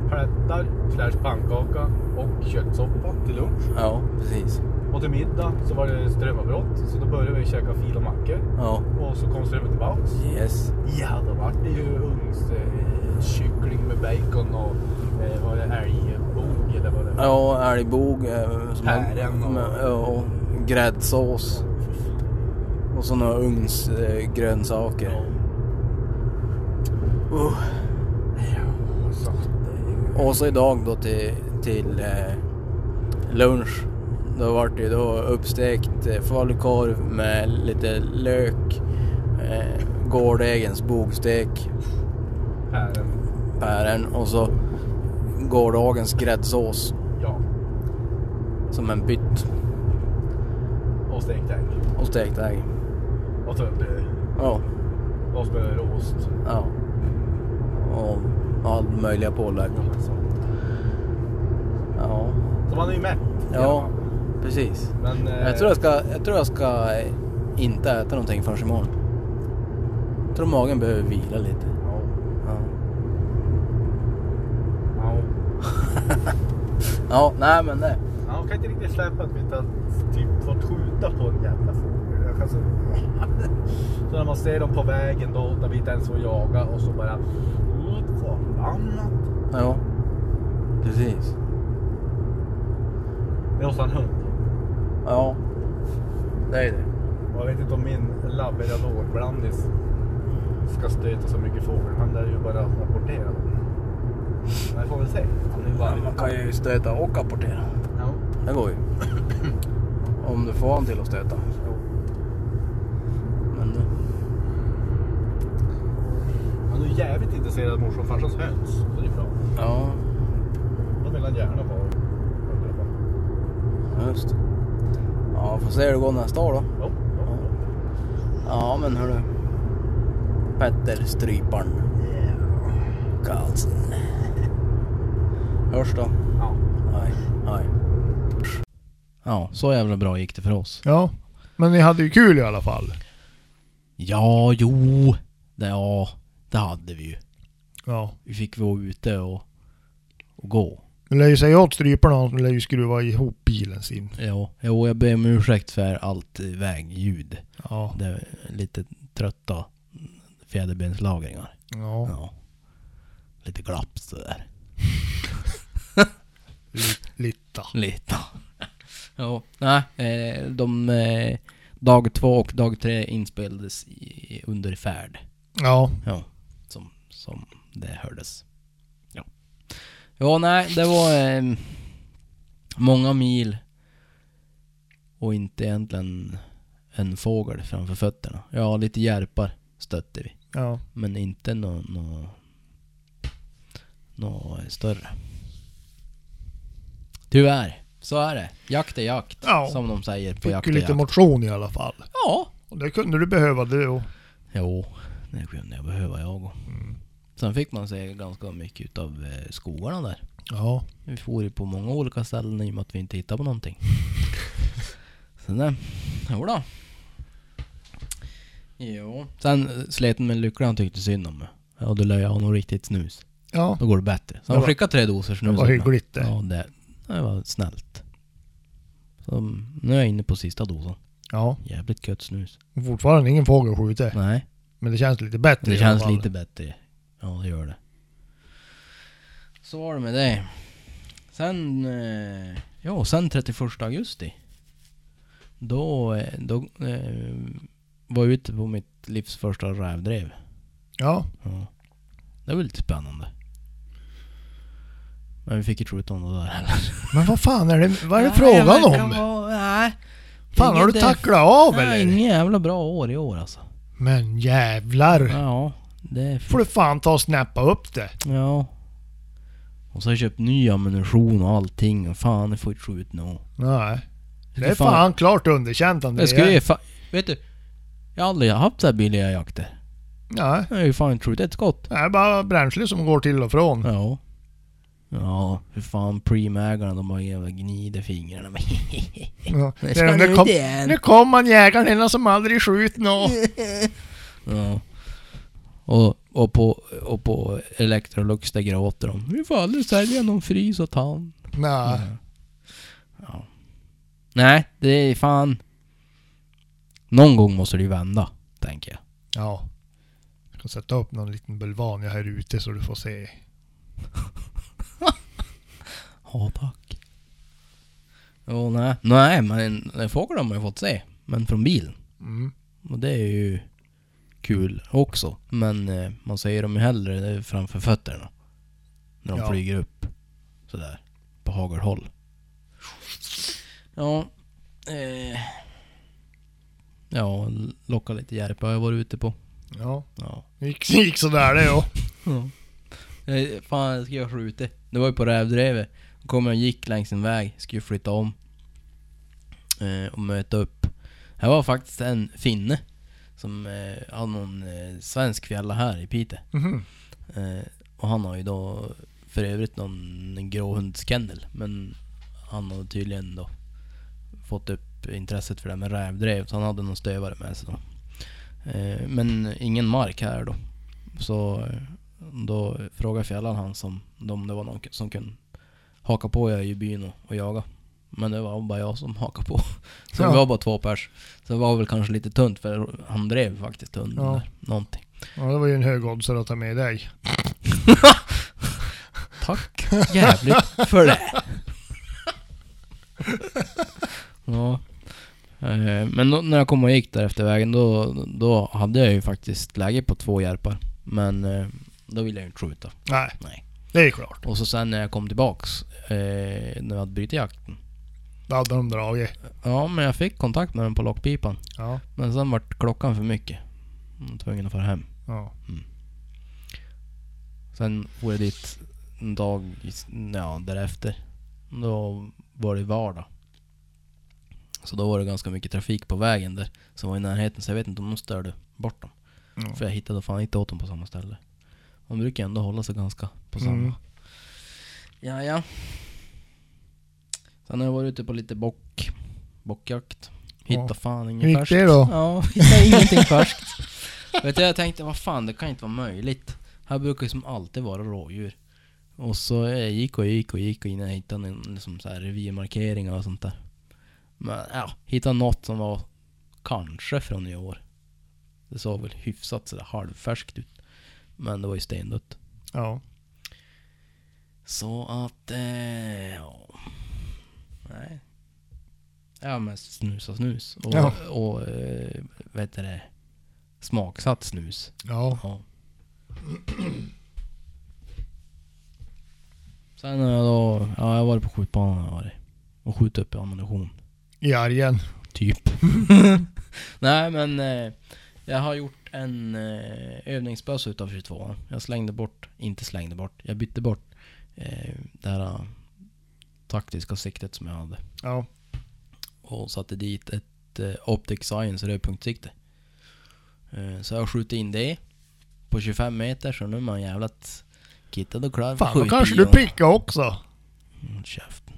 Speaker 5: Plättar, slash pannkaka och köttsoppa till lunch.
Speaker 3: Ja, precis.
Speaker 5: Och till middag så var det strömavbrott. Så då började vi käka fil och mackor.
Speaker 3: Ja.
Speaker 5: Och så kom strömmen tillbaks.
Speaker 3: Yes.
Speaker 5: Ja, då var det ju ugnskyckling eh, med bacon och eh, var det älgbog eller vad det var.
Speaker 3: Ja, älgbog. eh, som har-
Speaker 5: Päron och-
Speaker 3: med- Ja, och gräddsås. Och så några ugnsgrönsaker. Uh.
Speaker 5: Ja, så det-
Speaker 3: Och så idag då till, till eh, lunch. Då var det ju då uppstekt eh, falukorv med lite lök, eh, gårdägens bogstek,
Speaker 5: Päron.
Speaker 3: päron och så gårdagens gräddsås
Speaker 5: Ja.
Speaker 3: som en pytt
Speaker 5: Och stekt ägg.
Speaker 3: och stekt ägg.
Speaker 5: Och tunnbröd.
Speaker 3: Ja,
Speaker 5: Och smör och ost.
Speaker 3: ja. Och all möjliga pålägg.
Speaker 5: Så.
Speaker 3: Ja,
Speaker 5: så man är ju mätt.
Speaker 3: ja precis.
Speaker 5: Men, eh,
Speaker 3: Jag tror jag ska, jag tror jag ska eh, inte äta någonting förrän imorgon. Jag tror magen behöver vila lite.
Speaker 5: Ja.
Speaker 3: Ja, ja
Speaker 5: Ja.
Speaker 3: nej men det.
Speaker 5: Ja, jag kan inte riktigt släppa att vi inte har typ fått skjuta på en jävla fågel. Jag kan så... (laughs) så när man ser dem på vägen då, när vi inte ens får jaga och så bara... "Åh, Förbannat!
Speaker 3: Ja, precis.
Speaker 5: Det måste ha en hund.
Speaker 3: Ja, det är det.
Speaker 5: Och jag vet inte om min labradorblandis ska stöta så mycket fågel. Han lär ju bara rapportera dem. Men jag får väl se. Han är ju
Speaker 3: Ja,
Speaker 5: varm.
Speaker 3: man kan ju stöta och apportera.
Speaker 5: Ja.
Speaker 3: Det går ju. (clears throat) Om du får han till att stöta. Men eh,
Speaker 5: Han är ju jävligt intresserad av mors och farsans höns. Så det är bra.
Speaker 3: ja,
Speaker 5: De vill han gärna vara.
Speaker 3: just Ja, får se hur det går nästa år då.
Speaker 5: Ja, ja, ja.
Speaker 3: Ja, men hörru. Petter Stryparen Karlsson. Hörs då.
Speaker 5: Ja.
Speaker 3: Nej, nej.
Speaker 1: Ja, så jävla bra gick det för oss.
Speaker 2: Ja, men ni hade ju kul i alla fall.
Speaker 1: Ja, jo. Det, ja, det hade vi ju.
Speaker 2: Ja.
Speaker 1: Vi fick vara ute och, och gå.
Speaker 2: Du lär ju säga åt stryparna att de lär ju skruva ihop bilen sin.
Speaker 1: Ja, jo, jag ber om ursäkt för allt eh, vägljud.
Speaker 2: Ja.
Speaker 1: Det är lite trötta fjäderbenslagringar.
Speaker 2: Ja.
Speaker 1: Ja. Lite glapp sådär.
Speaker 2: Li- Litta.
Speaker 1: Lite. (laughs) ja, nej. eh, De, eh, dag två och dag tre inspelades i, under färd.
Speaker 2: Ja.
Speaker 1: Ja. Som, som det hördes. Ja. Ja, nej, det var eh, många mil och inte egentligen en fågel framför fötterna. Ja, lite järpar stötte vi.
Speaker 2: Ja.
Speaker 1: Men inte något nå, nå större. Tyvärr, så är det. Jakt är jakt,
Speaker 2: Ja.
Speaker 1: som de säger på
Speaker 2: Fick
Speaker 1: jakt
Speaker 2: ju
Speaker 1: är
Speaker 2: lite
Speaker 1: jakt.
Speaker 2: motion i alla fall.
Speaker 1: ja.
Speaker 2: Och det kunde du behöva det och...
Speaker 1: Jo, det kunde jag behöva jag och.
Speaker 2: Mm.
Speaker 1: Sen fick man se ganska mycket utav eh, skogarna där.
Speaker 2: Ja.
Speaker 1: Vi for ju på många olika ställen i och med att vi inte hittade på
Speaker 2: (laughs)
Speaker 1: någonting. Sen det, jodå. Jo. Sen eh, slet med lycklan tyckte synd om mig. Ja, du lär jag ha något riktigt snus.
Speaker 2: Ja.
Speaker 1: Då går det bättre. Så
Speaker 2: Det
Speaker 1: han
Speaker 2: var-
Speaker 1: skickade tre doser snus.
Speaker 2: det var
Speaker 1: åt mig.
Speaker 2: hyggligt det.
Speaker 1: Ja, det, det var snällt. Så, nu är jag inne på sista dosan.
Speaker 2: Ja.
Speaker 1: Jävligt gött snus.
Speaker 2: Och Fortfarande ingen fågel skjutit.
Speaker 1: Nej,
Speaker 2: Men det känns lite bättre
Speaker 1: det
Speaker 2: i alla
Speaker 1: känns
Speaker 2: fall.
Speaker 1: lite bättre. Ja, det gör det. Så var det med det. Sen... Eh, ja, sen 31 augusti. Då, eh, då eh, var jag ute på mitt livs första rävdrev.
Speaker 2: Ja.
Speaker 1: Ja. Det var lite spännande. Men vi fick ju inte skjuta om det där heller.
Speaker 2: Men vad fan är det, vad är det
Speaker 1: Nej,
Speaker 2: frågan
Speaker 1: jag verkar
Speaker 2: om?
Speaker 1: vara- Nej.
Speaker 2: Fan har
Speaker 1: Inget
Speaker 2: du
Speaker 1: det-
Speaker 2: tacklat av
Speaker 1: Nej,
Speaker 2: eller?
Speaker 1: inget jävla bra år i år alltså.
Speaker 2: Men jävlar.
Speaker 1: Ja, det är... f-
Speaker 2: Får du fan ta och snappa upp det.
Speaker 1: Ja. Och så har jag köpt ny ammunition och allting och fan, jag får inte skjuta nu.
Speaker 2: Nej. Det
Speaker 1: Fy
Speaker 2: är
Speaker 1: fan.
Speaker 2: fan klart underkänt André.
Speaker 1: Det ska ju fa- Vet du? Jag har aldrig haft så här billiga jakter.
Speaker 2: Nej.
Speaker 1: Jag har ju fan inte skjutit ett skott.
Speaker 2: Det är bara bränsle som går till och från.
Speaker 1: Ja. Ja, för fan primägarna de bara jävla gnider fingrarna. (laughs)
Speaker 2: Ja.
Speaker 1: Det
Speaker 2: Det
Speaker 1: ska
Speaker 2: är-
Speaker 1: du
Speaker 2: Nu kom,
Speaker 1: inte igen.
Speaker 2: nu kom man jägaren ena som aldrig skjut nå.
Speaker 1: Ja. Och, och på, och på Electrolux där gråter Ah. de. Vi får aldrig sälja någon frys åt han.
Speaker 2: Nej.
Speaker 1: Ja. Nej, det är fan... Någon gång måste det ju vända, tänker jag.
Speaker 2: Ja. Jag kan sätta upp någon liten bulvan jag här ute så du får se.
Speaker 1: Ja, tack. Jo, nej. Nej, men fåglar har man ju fått se. Men från bilen.
Speaker 2: Mm.
Speaker 1: Och det är ju kul också. Men eh, man ser dem ju hellre framför fötterna. När de
Speaker 2: Ja.
Speaker 1: flyger upp. Sådär. På hagelhåll. Ja. Eh, ja, locka lite järpe har jag varit ute på.
Speaker 2: Ja,
Speaker 1: Ja.
Speaker 2: det gick, gick sådär det ja.
Speaker 1: Ja. Eh, Fan, jag skulle ha skjutit. Det var ju på rävdrevet. Då kom jag och gick längs en väg, skulle flytta om. Eh, och möta upp. Här var faktiskt en finne. Som eh, hade någon eh, svensk fjälla här i Piteå.
Speaker 2: Mhm.
Speaker 1: Eh, och han har ju då för övrigt någon gråhundskennel. Men han har tydligen då fått upp intresset för det här med rävdrev. Så han hade någon stövare med sig då. Eh, men ingen mark här då. Så eh, då frågade fjällan han som, om det var någon som kunde haka på jag i byn och, och jaga. Men det var bara jag som hakade på. (laughs) Så
Speaker 2: Ja.
Speaker 1: vi var bara två pers. Så det var väl kanske lite tunt för han drev faktiskt hunden
Speaker 2: Ja.
Speaker 1: där. Någonting.
Speaker 2: ja, det var ju en hög oddsare att ta med dig.
Speaker 1: Tack jävligt för det. (laughs) ja. Eh, Men då, när jag kom och gick där efter vägen då, då hade jag ju faktiskt läge på två järpar. Men eh, då ville jag ju inte skjuta.
Speaker 2: Nej.
Speaker 1: Nej.
Speaker 2: Det är klart.
Speaker 1: Och så sen när jag kom tillbaks, eh, när jag hade brutit jakten.
Speaker 2: Då hade de dragit.
Speaker 1: Ja, men jag fick kontakt med den på lockpipan.
Speaker 2: Ja.
Speaker 1: Men sen vart klockan för mycket. Jag var tvungen att fara hem.
Speaker 2: Ja.
Speaker 1: Sen var jag dit en dag i- ja, därefter. Då var det vardag. Så då var det ganska mycket trafik på vägen där som var i närheten så jag vet inte om de störde bort dem.
Speaker 2: Ja.
Speaker 1: För jag hittade fan inte åt dem på samma ställe. De brukar ändå hålla sig ganska på samma.
Speaker 2: Mm.
Speaker 1: Ja, ja. Sen har jag varit ute på lite bock, bockjakt. Hitta
Speaker 2: Ja.
Speaker 1: fan inget
Speaker 2: Hur gick
Speaker 1: färskt.
Speaker 2: det då?
Speaker 1: Ja, hittade ingenting färskt. (laughs) Vet du, jag tänkte vad fan det kan inte vara möjligt. Här brukar ju som alltid vara rådjur. Och så jag gick och gick och gick och innan jag hittade en, liksom så här revirmarkeringar och sånt där. Men ja, hittade något som var kanske från i år. Det såg väl hyfsat sådär halvfärskt ut. Men det var ju stendött.
Speaker 2: Ja.
Speaker 1: Så att, eh, ja. Nej. Ja men snusa snus. Och,
Speaker 2: Ja.
Speaker 1: och eh, vad heter det? Smaksatt snus.
Speaker 2: Ja.
Speaker 1: Ja. Sen har jag då, ja jag har varit på skjutbanan har jag varit. Och skjutit upp ammunition.
Speaker 2: I argen.
Speaker 1: Typ. (laughs) Nej men eh, jag har gjort en eh, övningsbössa utav 22 Jag slängde bort, inte slängde bort, jag bytte bort eh, det här eh, taktiska siktet som jag hade.
Speaker 2: Ja.
Speaker 1: Och satte dit ett eh, Optic Science rödpunktssikte. Eh, så jag har skjutit in det på 25 meter så nu är man jävligt kittad och klar för
Speaker 2: Fan, då
Speaker 1: skjutbilen.
Speaker 2: kanske du pickar också.
Speaker 1: Håll
Speaker 2: (laughs)
Speaker 1: käften.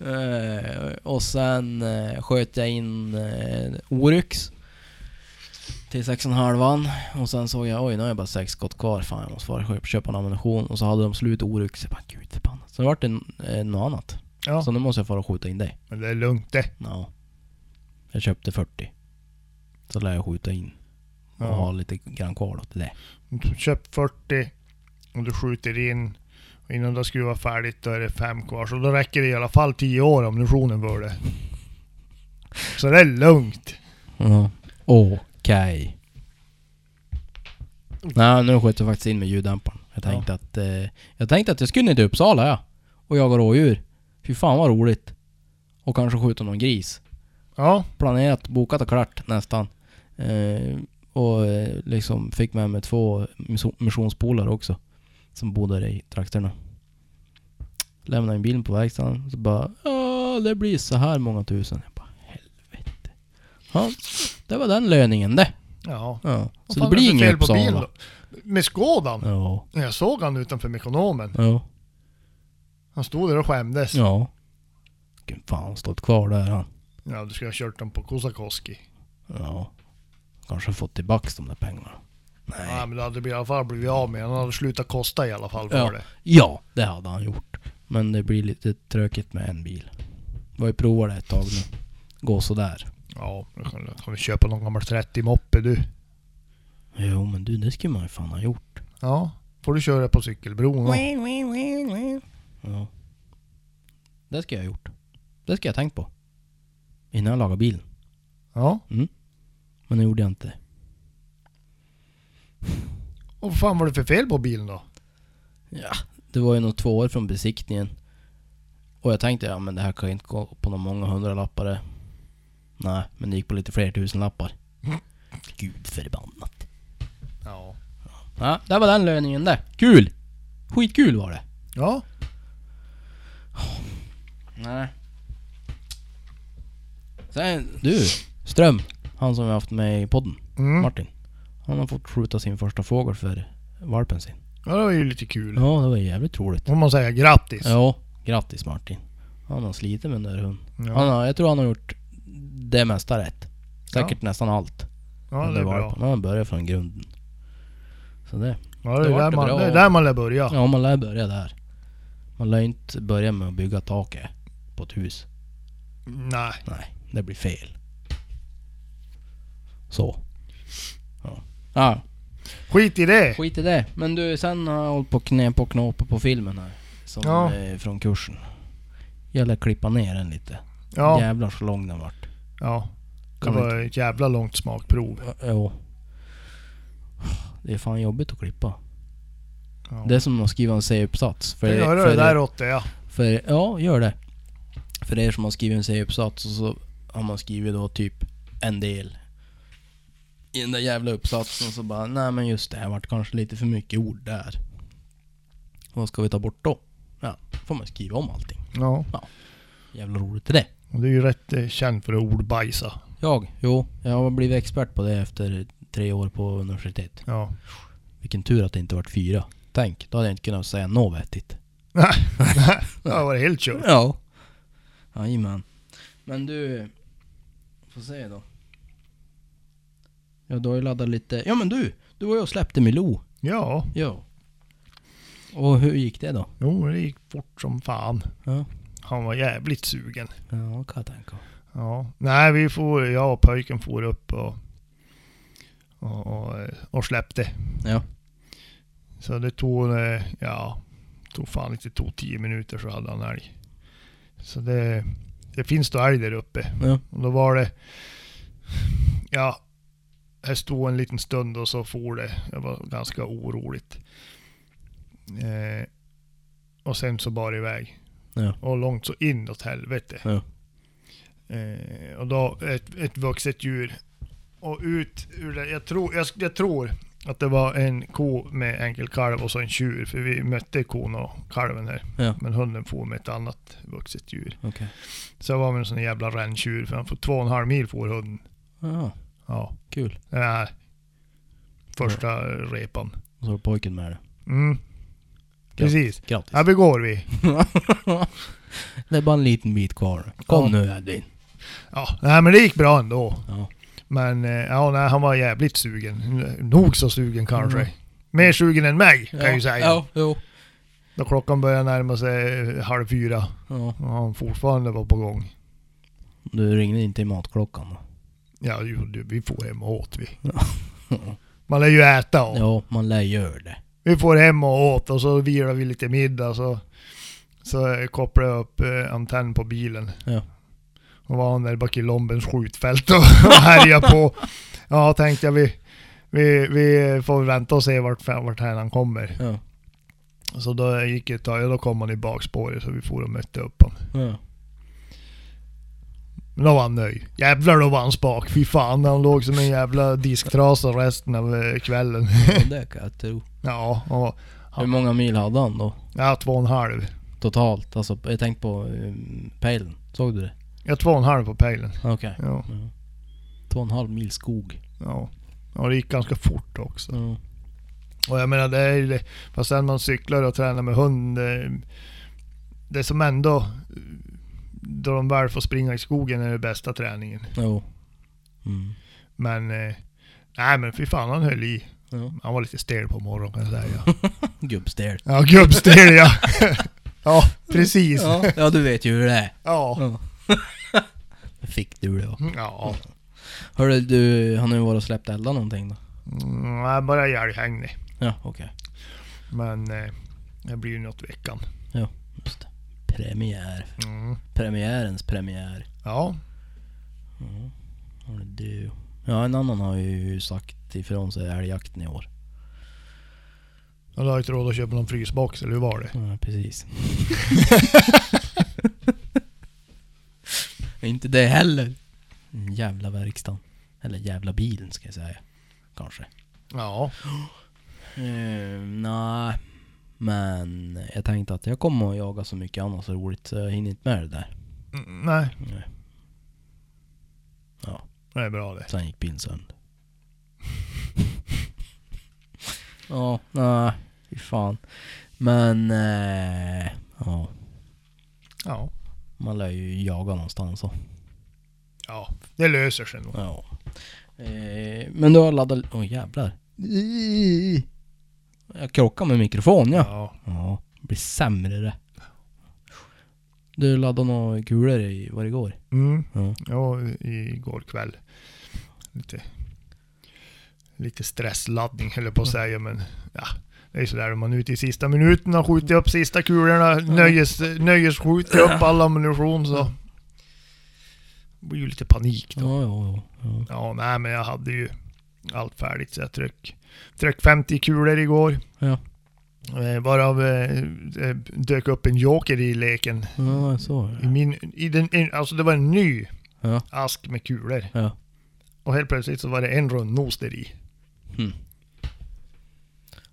Speaker 1: Eh, och sen eh, sköt jag in eh, Oryx till 6,5 och sen såg jag oj nu har jag bara sex skott kvar, fan jag måste bara köpa, köpa en ammunition och så hade de slut Oryx, jag bara gud förbannat. Så det vart en, eh, något annat.
Speaker 2: Ja.
Speaker 1: Så nu måste jag fara och skjuta in det.
Speaker 2: Men det är lugnt det.
Speaker 1: Ja. Jag köpte 40. Så lär jag skjuta in och
Speaker 2: Ja.
Speaker 1: ha lite grann kvar då till det.
Speaker 2: Du köpt 40 och du skjuter in. Och innan du har skruvat färdigt då är det fem kvar. Så då räcker det i alla fall 10 år om ammunitionen för det. Så det är lugnt.
Speaker 1: Ja. Okej. Nej, nu sköt jag faktiskt in med ljuddämparen. Jag tänkte att... Eh, jag tänkte att jag skulle ner till Uppsala ja. Och jaga rådjur. Fy fan vad roligt. Och kanske skjuta någon gris.
Speaker 2: Ja,
Speaker 1: Planerat, bokat och klart nästan. Eh, och eh, liksom fick med mig två misso- missionspolare också. Som bodde där i trakterna. Lämnade in bilen på verkstaden. Så bara... Ja, det blir så här många tusen. Jag bara helvete. Ja, det var den löningen det.
Speaker 2: ja.
Speaker 1: Ja.
Speaker 2: Vad
Speaker 1: Så det
Speaker 2: fan är för
Speaker 1: blir
Speaker 2: fel
Speaker 1: inget
Speaker 2: på bilen
Speaker 1: Uppsala.
Speaker 2: då? Med skådan?
Speaker 1: Ja.
Speaker 2: Jag såg han utanför Mekonomen.
Speaker 1: Ja.
Speaker 2: Han stod där och skämdes. Ja,
Speaker 1: Ja. Gud fan, han har stått kvar där han.
Speaker 2: du skulle ha kört dem på Kosakoski.
Speaker 1: Ja. Kanske fått tillbaks de där pengarna.
Speaker 2: Nej. men det hade blivit- i alla fall blivit av med. Han hade slutat kosta i alla fall för
Speaker 1: Ja.
Speaker 2: det.
Speaker 1: Ja, det hade han gjort. Men det blir lite tråkigt med en bil. Vi har ju provat det ett tag nu. Går sådär.
Speaker 2: Ja, då kan, kan vi köpa någon gammal 30 moppe du.
Speaker 1: Jo men du, det skulle man ju fan ha gjort.
Speaker 2: Ja, får du köra på cykelbron va?
Speaker 1: Ja. Det skulle jag ha gjort. Det skulle jag ha tänkt på. Innan jag lagade bilen.
Speaker 2: Ja.
Speaker 1: Men det gjorde jag inte.
Speaker 2: Och vad fan var det för fel på bilen då?
Speaker 1: Ja, det var ju nog två år från besiktningen. Och jag tänkte, ja men det här kan ju inte gå på några många hundralappar det. Nej, men det gick på lite fler tusenlappar. Gud förbannat.
Speaker 2: Ja.
Speaker 1: Ja, det var den löningen det. Kul! Skitkul var det.
Speaker 2: Ja,
Speaker 1: Nej. Sen, du. Ström. Han som vi har haft med i podden.
Speaker 2: Mm.
Speaker 1: Martin. Han har fått skjuta sin första fågel för valpen sin.
Speaker 2: ja det var ju lite kul.
Speaker 1: Ja, det var jävligt roligt.
Speaker 2: Får man säga grattis?
Speaker 1: Ja, grattis Martin. Han har slitit med den där hunden.
Speaker 2: Ja.
Speaker 1: Han har, jag tror han har gjort det mesta rätt. Säkert nästan allt.
Speaker 2: Ja,
Speaker 1: Men
Speaker 2: det är
Speaker 1: var-
Speaker 2: bra.
Speaker 1: men Han börjar från grunden. Så det.
Speaker 2: Ja,
Speaker 1: Det
Speaker 2: det är
Speaker 1: vart
Speaker 2: där
Speaker 1: det
Speaker 2: man,
Speaker 1: bra.
Speaker 2: det är där man lär börja.
Speaker 1: Ja, man lär börja där. Man lär inte börja med att bygga taket på ett hus.
Speaker 2: Nej.
Speaker 1: Nej, det blir fel. Så. Ja. ja,
Speaker 2: Skit i det.
Speaker 1: skit i det. Men du, sen har jag hållit på och knep på knåp på filmen här. Som
Speaker 2: Ja.
Speaker 1: är från kursen. Gäller klippa ner den lite.
Speaker 2: Ja.
Speaker 1: Jävlar så lång den vart.
Speaker 2: ja. Det
Speaker 1: Kan vi
Speaker 2: var ett jävla långt smakprov.
Speaker 1: Jo. Det är fan jobbigt att klippa.
Speaker 2: Ja.
Speaker 1: Det är som att skriva en C-uppsats. För,
Speaker 2: Jag gör
Speaker 1: för,
Speaker 2: det där åt det ja.
Speaker 1: för, ja, gör det. För er som har skrivit en C-uppsats och så har man skrivit då typ en del i den där jävla uppsatsen och så bara, nej men just det här vart kanske lite för mycket ord där. Vad ska vi ta bort då? Ja, får man skriva om allting.
Speaker 2: Ja.
Speaker 1: Jävla roligt är det.
Speaker 2: Och du är ju rätt eh, känd för att ordbajsa.
Speaker 1: Jag? Jo, jag har blivit expert på det efter tre år på universitet.
Speaker 2: Ja.
Speaker 1: Vilken tur att det inte vart fyra. Tänk, då hade jag inte kunnat säga något vettigt.
Speaker 2: Nej. det var helt kört.
Speaker 1: Ja. Jajamän. Men du, får se då. Ja, då har jag laddat lite. Ja men du, du var ju och släppte Milou.
Speaker 2: Ja.
Speaker 1: Ja. Och hur gick det då?
Speaker 2: Jo, det gick fort som fan.
Speaker 1: Ja.
Speaker 2: Han var jävligt sugen.
Speaker 1: Ja, kan jag tänka.
Speaker 2: Ja. Nej, vi får, jag och pojken for upp och, och, och, eh, och släppte.
Speaker 1: Ja.
Speaker 2: Så det tog, eh, ja, tog fan inte, tog tio minuter så hade han älg. Så det, det finns då älg där uppe.
Speaker 1: Ja.
Speaker 2: Och då var det, ja, jag stod en liten stund och så for det. Det var ganska oroligt. Eh, och sen så bar det iväg.
Speaker 1: Ja.
Speaker 2: Och långt så inåt helvete.
Speaker 1: Ja.
Speaker 2: Eh, och då ett, ett vuxet djur. Och ut ur det, jag tror, jag, jag tror att det var en ko med enkelkalv och så en tjur. För vi mötte kon och kalven här.
Speaker 1: Ja.
Speaker 2: Men hunden for med ett annat vuxet djur.
Speaker 1: Okej.
Speaker 2: Så jag var med en sån jävla renntjur, för han får två och en halv mil får hunden.
Speaker 1: Ja,
Speaker 2: Ja.
Speaker 1: kul.
Speaker 2: Den här första repan.
Speaker 1: Och så var pojken med det.
Speaker 2: Mm. Precis.
Speaker 1: Grattis.
Speaker 2: Här vi går vi.
Speaker 1: det är bara en liten bit kvar. Kom
Speaker 2: Ja.
Speaker 1: nu Edvin.
Speaker 2: Ja, nej men det gick bra ändå.
Speaker 1: Ja.
Speaker 2: Men eh, ja, nej, han var jävligt sugen. Nog så sugen kanske. Mer sugen än mig kan jag ju säga.
Speaker 1: Mm. Ja, jo.
Speaker 2: Då klockan började närma sig eh, halv fyra
Speaker 1: Ja.
Speaker 2: och han fortfarande var på gång.
Speaker 1: Du ringde inte i matklockan då?
Speaker 2: Ja, jo, du, vi får hem och åt vi.
Speaker 1: Ja.
Speaker 2: Man lär ju äta och.
Speaker 1: Ja, man lär göra det.
Speaker 2: Vi får hem och åt och så vilar vi lite middag så, så eh, kopplar jag upp eh, antenn på bilen.
Speaker 1: Ja.
Speaker 2: Och var han där bak i Lombens skjutfält och, (laughs) och härjade på. Ja, tänkte jag vi, vi, vi får vänta och se vart, vart här han kommer.
Speaker 1: Ja.
Speaker 2: Så då gick det ett tag, ja, då kom han i bakspåret så vi for och mötte upp honom.
Speaker 1: Ja.
Speaker 2: Men då var han nöjd. Jävlar då var han spak, fy fan han låg som en jävla disktrasa resten av eh, kvällen.
Speaker 1: det kan jag tro.
Speaker 2: Ja, och,
Speaker 1: Hur många mil hade han då?
Speaker 2: ja två och en halv.
Speaker 1: Totalt? Alltså, jag tänkte på um, pejlen. Såg du det?
Speaker 2: Ja, två och en halv på pejlen.
Speaker 1: Okej.
Speaker 2: Ja.
Speaker 1: Två och en halv mil skog.
Speaker 2: Ja. ja, det gick ganska fort också.
Speaker 1: Ja.
Speaker 2: Och jag menar det är ju det, fast sen man cyklar och tränar med hund. eh, Det som ändå, eh, då de väl får springa i skogen är det bästa träningen.
Speaker 1: Jo. Mm.
Speaker 2: Men, eh, nej men fy fan han höll i.
Speaker 1: Ja.
Speaker 2: Han var lite stel på morgonen kan jag säga.
Speaker 1: Gubbstel.
Speaker 2: Ja, (laughs) gubbstel ja. Ja, precis. Ja.
Speaker 1: (laughs) Ja, ja, du vet ju hur det är.
Speaker 2: Ja.
Speaker 1: Ja. Fick du det va?
Speaker 2: ja.
Speaker 1: Hörru du, har nu varit och släppt elda någonting då?
Speaker 2: Mm, jag är bara älghängnig.
Speaker 1: Ja, okej.
Speaker 2: Men eh, det blir ju något veckan.
Speaker 1: Just det. Premiär.
Speaker 2: Mm.
Speaker 1: Premiärens premiär.
Speaker 2: Ja.
Speaker 1: Hörru du. Ja, en annan har ju sagt ifrån sig älgjakten i år.
Speaker 2: Och du har inte råd att köpa någon frysbox, eller hur var det?
Speaker 1: Ja, precis. (laughs) Inte det heller. Mm, Jävla verkstaden. Eller jävla bilen ska jag säga. Kanske.
Speaker 2: Ja.
Speaker 1: Eh, Nej, men jag tänkte att jag kommer att jaga så mycket annat så roligt så jag hinner inte med det där.
Speaker 2: Mm, nej,
Speaker 1: Nej. Ja,
Speaker 2: det är bra det.
Speaker 1: sen gick bilen (laughs) sönder. ja, nej, fy fan. Men, eh, ja,
Speaker 2: Ja.
Speaker 1: man lär ju jaga någonstans så.
Speaker 2: Ja, det löser sig nog.
Speaker 1: Ja. Eh, men du har laddat... Åh jävlar. Jag krockar med mikrofon ja.
Speaker 2: Ja.
Speaker 1: Ja, det blir sämre det. Du laddade några kulor i, var det igår?
Speaker 2: Mm.
Speaker 1: Ja.
Speaker 2: Ja, i- igår kväll. Lite, lite stressladdning höll jag på att
Speaker 1: Mm.
Speaker 2: säga, men ja. Det är ju sådär om man är ute i sista minuten och skjuter upp sista kulorna, nöjes,
Speaker 1: (clears throat)
Speaker 2: nöjesskjuter upp all ammunition så... Det blir ju lite panik då.
Speaker 1: Ja, ja, ja.
Speaker 2: Ja, nej men jag hade ju allt färdigt så jag tryck, tryck 50 kulor igår.
Speaker 1: Ja.
Speaker 2: Eh, varav eh, eh, dök upp en joker i leken.
Speaker 1: Ja, jag såg det.
Speaker 2: I min, i den, i, alltså det var en ny
Speaker 1: Ja.
Speaker 2: ask med kulor.
Speaker 1: Ja.
Speaker 2: Och helt plötsligt så var det en rundnos där i.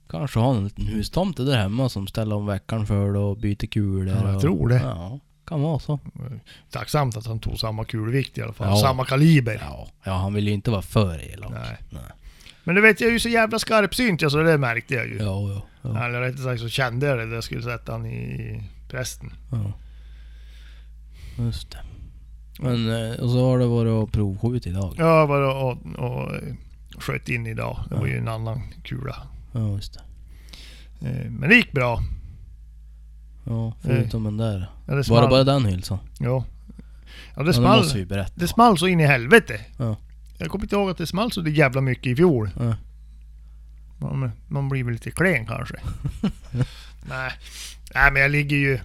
Speaker 1: Kanske har en liten hustomte där hemma som ställer om veckan för det och byter kulor.
Speaker 2: Ja, jag
Speaker 1: och,
Speaker 2: tror det.
Speaker 1: Ja, kan vara så.
Speaker 2: Tacksamt att han tog samma kulvikt i alla fall.
Speaker 1: Ja.
Speaker 2: Samma kaliber.
Speaker 1: Ja, ja han vill ju inte vara för elak.
Speaker 2: Nej.
Speaker 1: Nej.
Speaker 2: Men du vet, jag är ju så jävla skarpsynt, så alltså, det märkte jag ju.
Speaker 1: Ja, ja, ja.
Speaker 2: Eller rättare sagt så kände jag det när jag skulle sätta han i prästen.
Speaker 1: ja. Just det. Men, eh, och så har det varit och provskjut idag.
Speaker 2: Ja, jag var och, och eh, sköt in idag. Det var ju en annan kula.
Speaker 1: Ja, just det.
Speaker 2: Eh, Men det gick bra.
Speaker 1: Ja, förutom den där.
Speaker 2: Ja, det
Speaker 1: Var det
Speaker 2: small.
Speaker 1: bara den hylsan?
Speaker 2: Ja. Ja, det
Speaker 1: Ja, det
Speaker 2: small.
Speaker 1: måste vi berätta.
Speaker 2: Det small så in i helvete.
Speaker 1: Ja.
Speaker 2: Jag kommer inte ihåg att det small så det jävla mycket i fjol.
Speaker 1: Ja.
Speaker 2: Man, man blir väl lite klen kanske. (laughs) Nej. Nej, men jag ligger ju...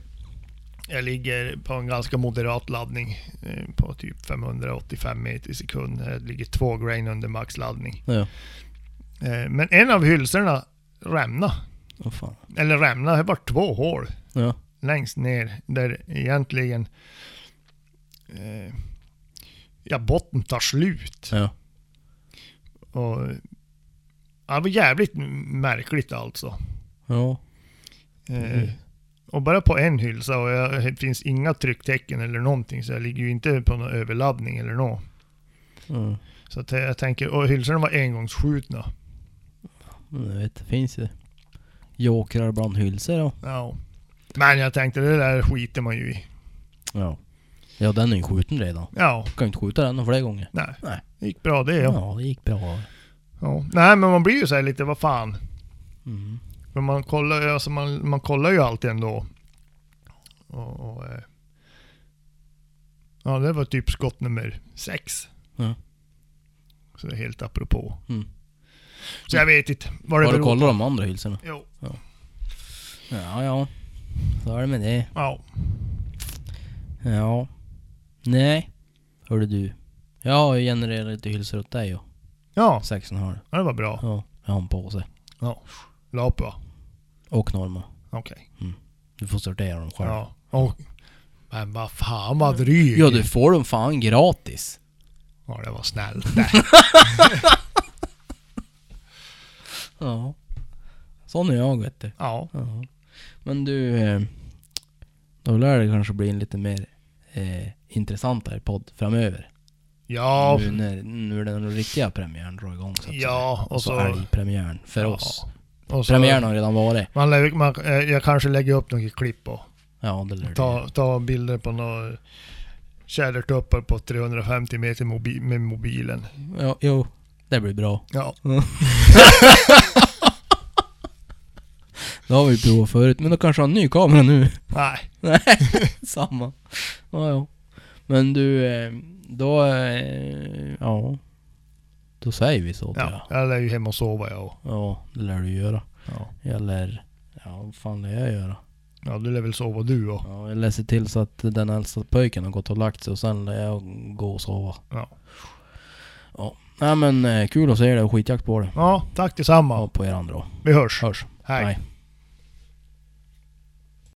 Speaker 2: Jag ligger på en ganska moderat laddning eh, på typ 585 meter i sekund. Jag ligger två grain under maxladdning.
Speaker 1: Ja,
Speaker 2: Eh, Men en av hylsorna rämna.
Speaker 1: vad fan.
Speaker 2: Eller rämna, det var två hål
Speaker 1: Ja,
Speaker 2: längst ner där egentligen eh, ja, botten tar slut.
Speaker 1: ja.
Speaker 2: Och, ja, det var jävligt märkligt alltså.
Speaker 1: Ja,
Speaker 2: Eh, Och bara på en hylsa och jag, det finns inga trycktecken eller någonting så jag ligger ju inte på någon överladdning eller något.
Speaker 1: mm.
Speaker 2: Så att jag tänker, och hylsorna var engångsskjutna.
Speaker 1: Men jag vet, det finns ju jokrar bland hylsor då.
Speaker 2: Ja. Men jag tänkte det där skiter man ju i.
Speaker 1: Ja. Ja, den är ju skjuten redan.
Speaker 2: Ja,
Speaker 1: Du kan ju inte skjuta den fler gånger.
Speaker 2: nej.
Speaker 1: Nej.
Speaker 2: Det gick bra det ja.
Speaker 1: ja det gick bra.
Speaker 2: ja. Nej men man blir ju så här lite, vad fan.
Speaker 1: Mm.
Speaker 2: Men man kollar, ju- alltså man, man kollar ju alltid ändå. Och, och, eh, ja, det var typ skott nummer sex.
Speaker 1: Ja.
Speaker 2: Så det är helt apropå.
Speaker 1: Mm.
Speaker 2: Så jag vet inte. Var det
Speaker 1: Har du
Speaker 2: beror-
Speaker 1: kollat de andra hylsorna?
Speaker 2: Jo,
Speaker 1: Ja, ja. Så är det med det.
Speaker 2: ja.
Speaker 1: Ja. Nej. Hörde du. Jag har ju genererat lite hylsor åt dig och
Speaker 2: Ja,
Speaker 1: sex och en halv.
Speaker 2: ja, det var bra.
Speaker 1: Ja. Jag har en påse.
Speaker 2: Ja. Lap va?
Speaker 1: Och Norma.
Speaker 2: Okej.
Speaker 1: Du får sortera dem själv. Ja,
Speaker 2: Ja. Och, men vad fan vad dryg.
Speaker 1: du får dem fan gratis.
Speaker 2: Ja, det var snällt. Nej.
Speaker 1: Ja. Sån är jag vet du.
Speaker 2: Ja.
Speaker 1: Ja. Men du, eh, då lär det kanske bli en lite mer eh, intressantare podd framöver.
Speaker 2: Ja.
Speaker 1: (laughs) Nu när, nu när den riktiga premiären drar igång så att säga.
Speaker 2: Ja, och
Speaker 1: Alltså
Speaker 2: så...
Speaker 1: älgpremiären för
Speaker 2: Ja.
Speaker 1: oss.
Speaker 2: Och så
Speaker 1: Premiären har redan varit.
Speaker 2: man, lä- man, eh, jag kanske lägger upp några klipp och
Speaker 1: Ja, det lär det.
Speaker 2: Ta, ta bilder på några tjädertuppar på 350 meter mobi med mobilen.
Speaker 1: Ja, jo, det blir bra.
Speaker 2: Ja.
Speaker 1: Det har vi ju provat förut, men då kanske har en ny kamera nu. (laughs)
Speaker 2: Nej. (laughs)
Speaker 1: Nej, samma. Ja, ja. Men du, eh, då... eh, Ja. Då säger vi så
Speaker 2: Ja, jag lär ju hem och sova jag och.
Speaker 1: ja, det lär du göra.
Speaker 2: Ja.
Speaker 1: Jag lär... Ja, vad fan lär jag göra?
Speaker 2: ja, du lär väl sova du och.
Speaker 1: Ja, jag lär se till så att den äldsta pojken har gått och lagt sig och sen lär jag gå och sova.
Speaker 2: Ja.
Speaker 1: Ja. Nej men eh, kul att se dig och skitjakt på dig.
Speaker 2: Ja, tack detsamma.
Speaker 1: Ja, på er andra.
Speaker 2: Vi hörs.
Speaker 1: Hörs.
Speaker 2: Hej.
Speaker 1: Hej.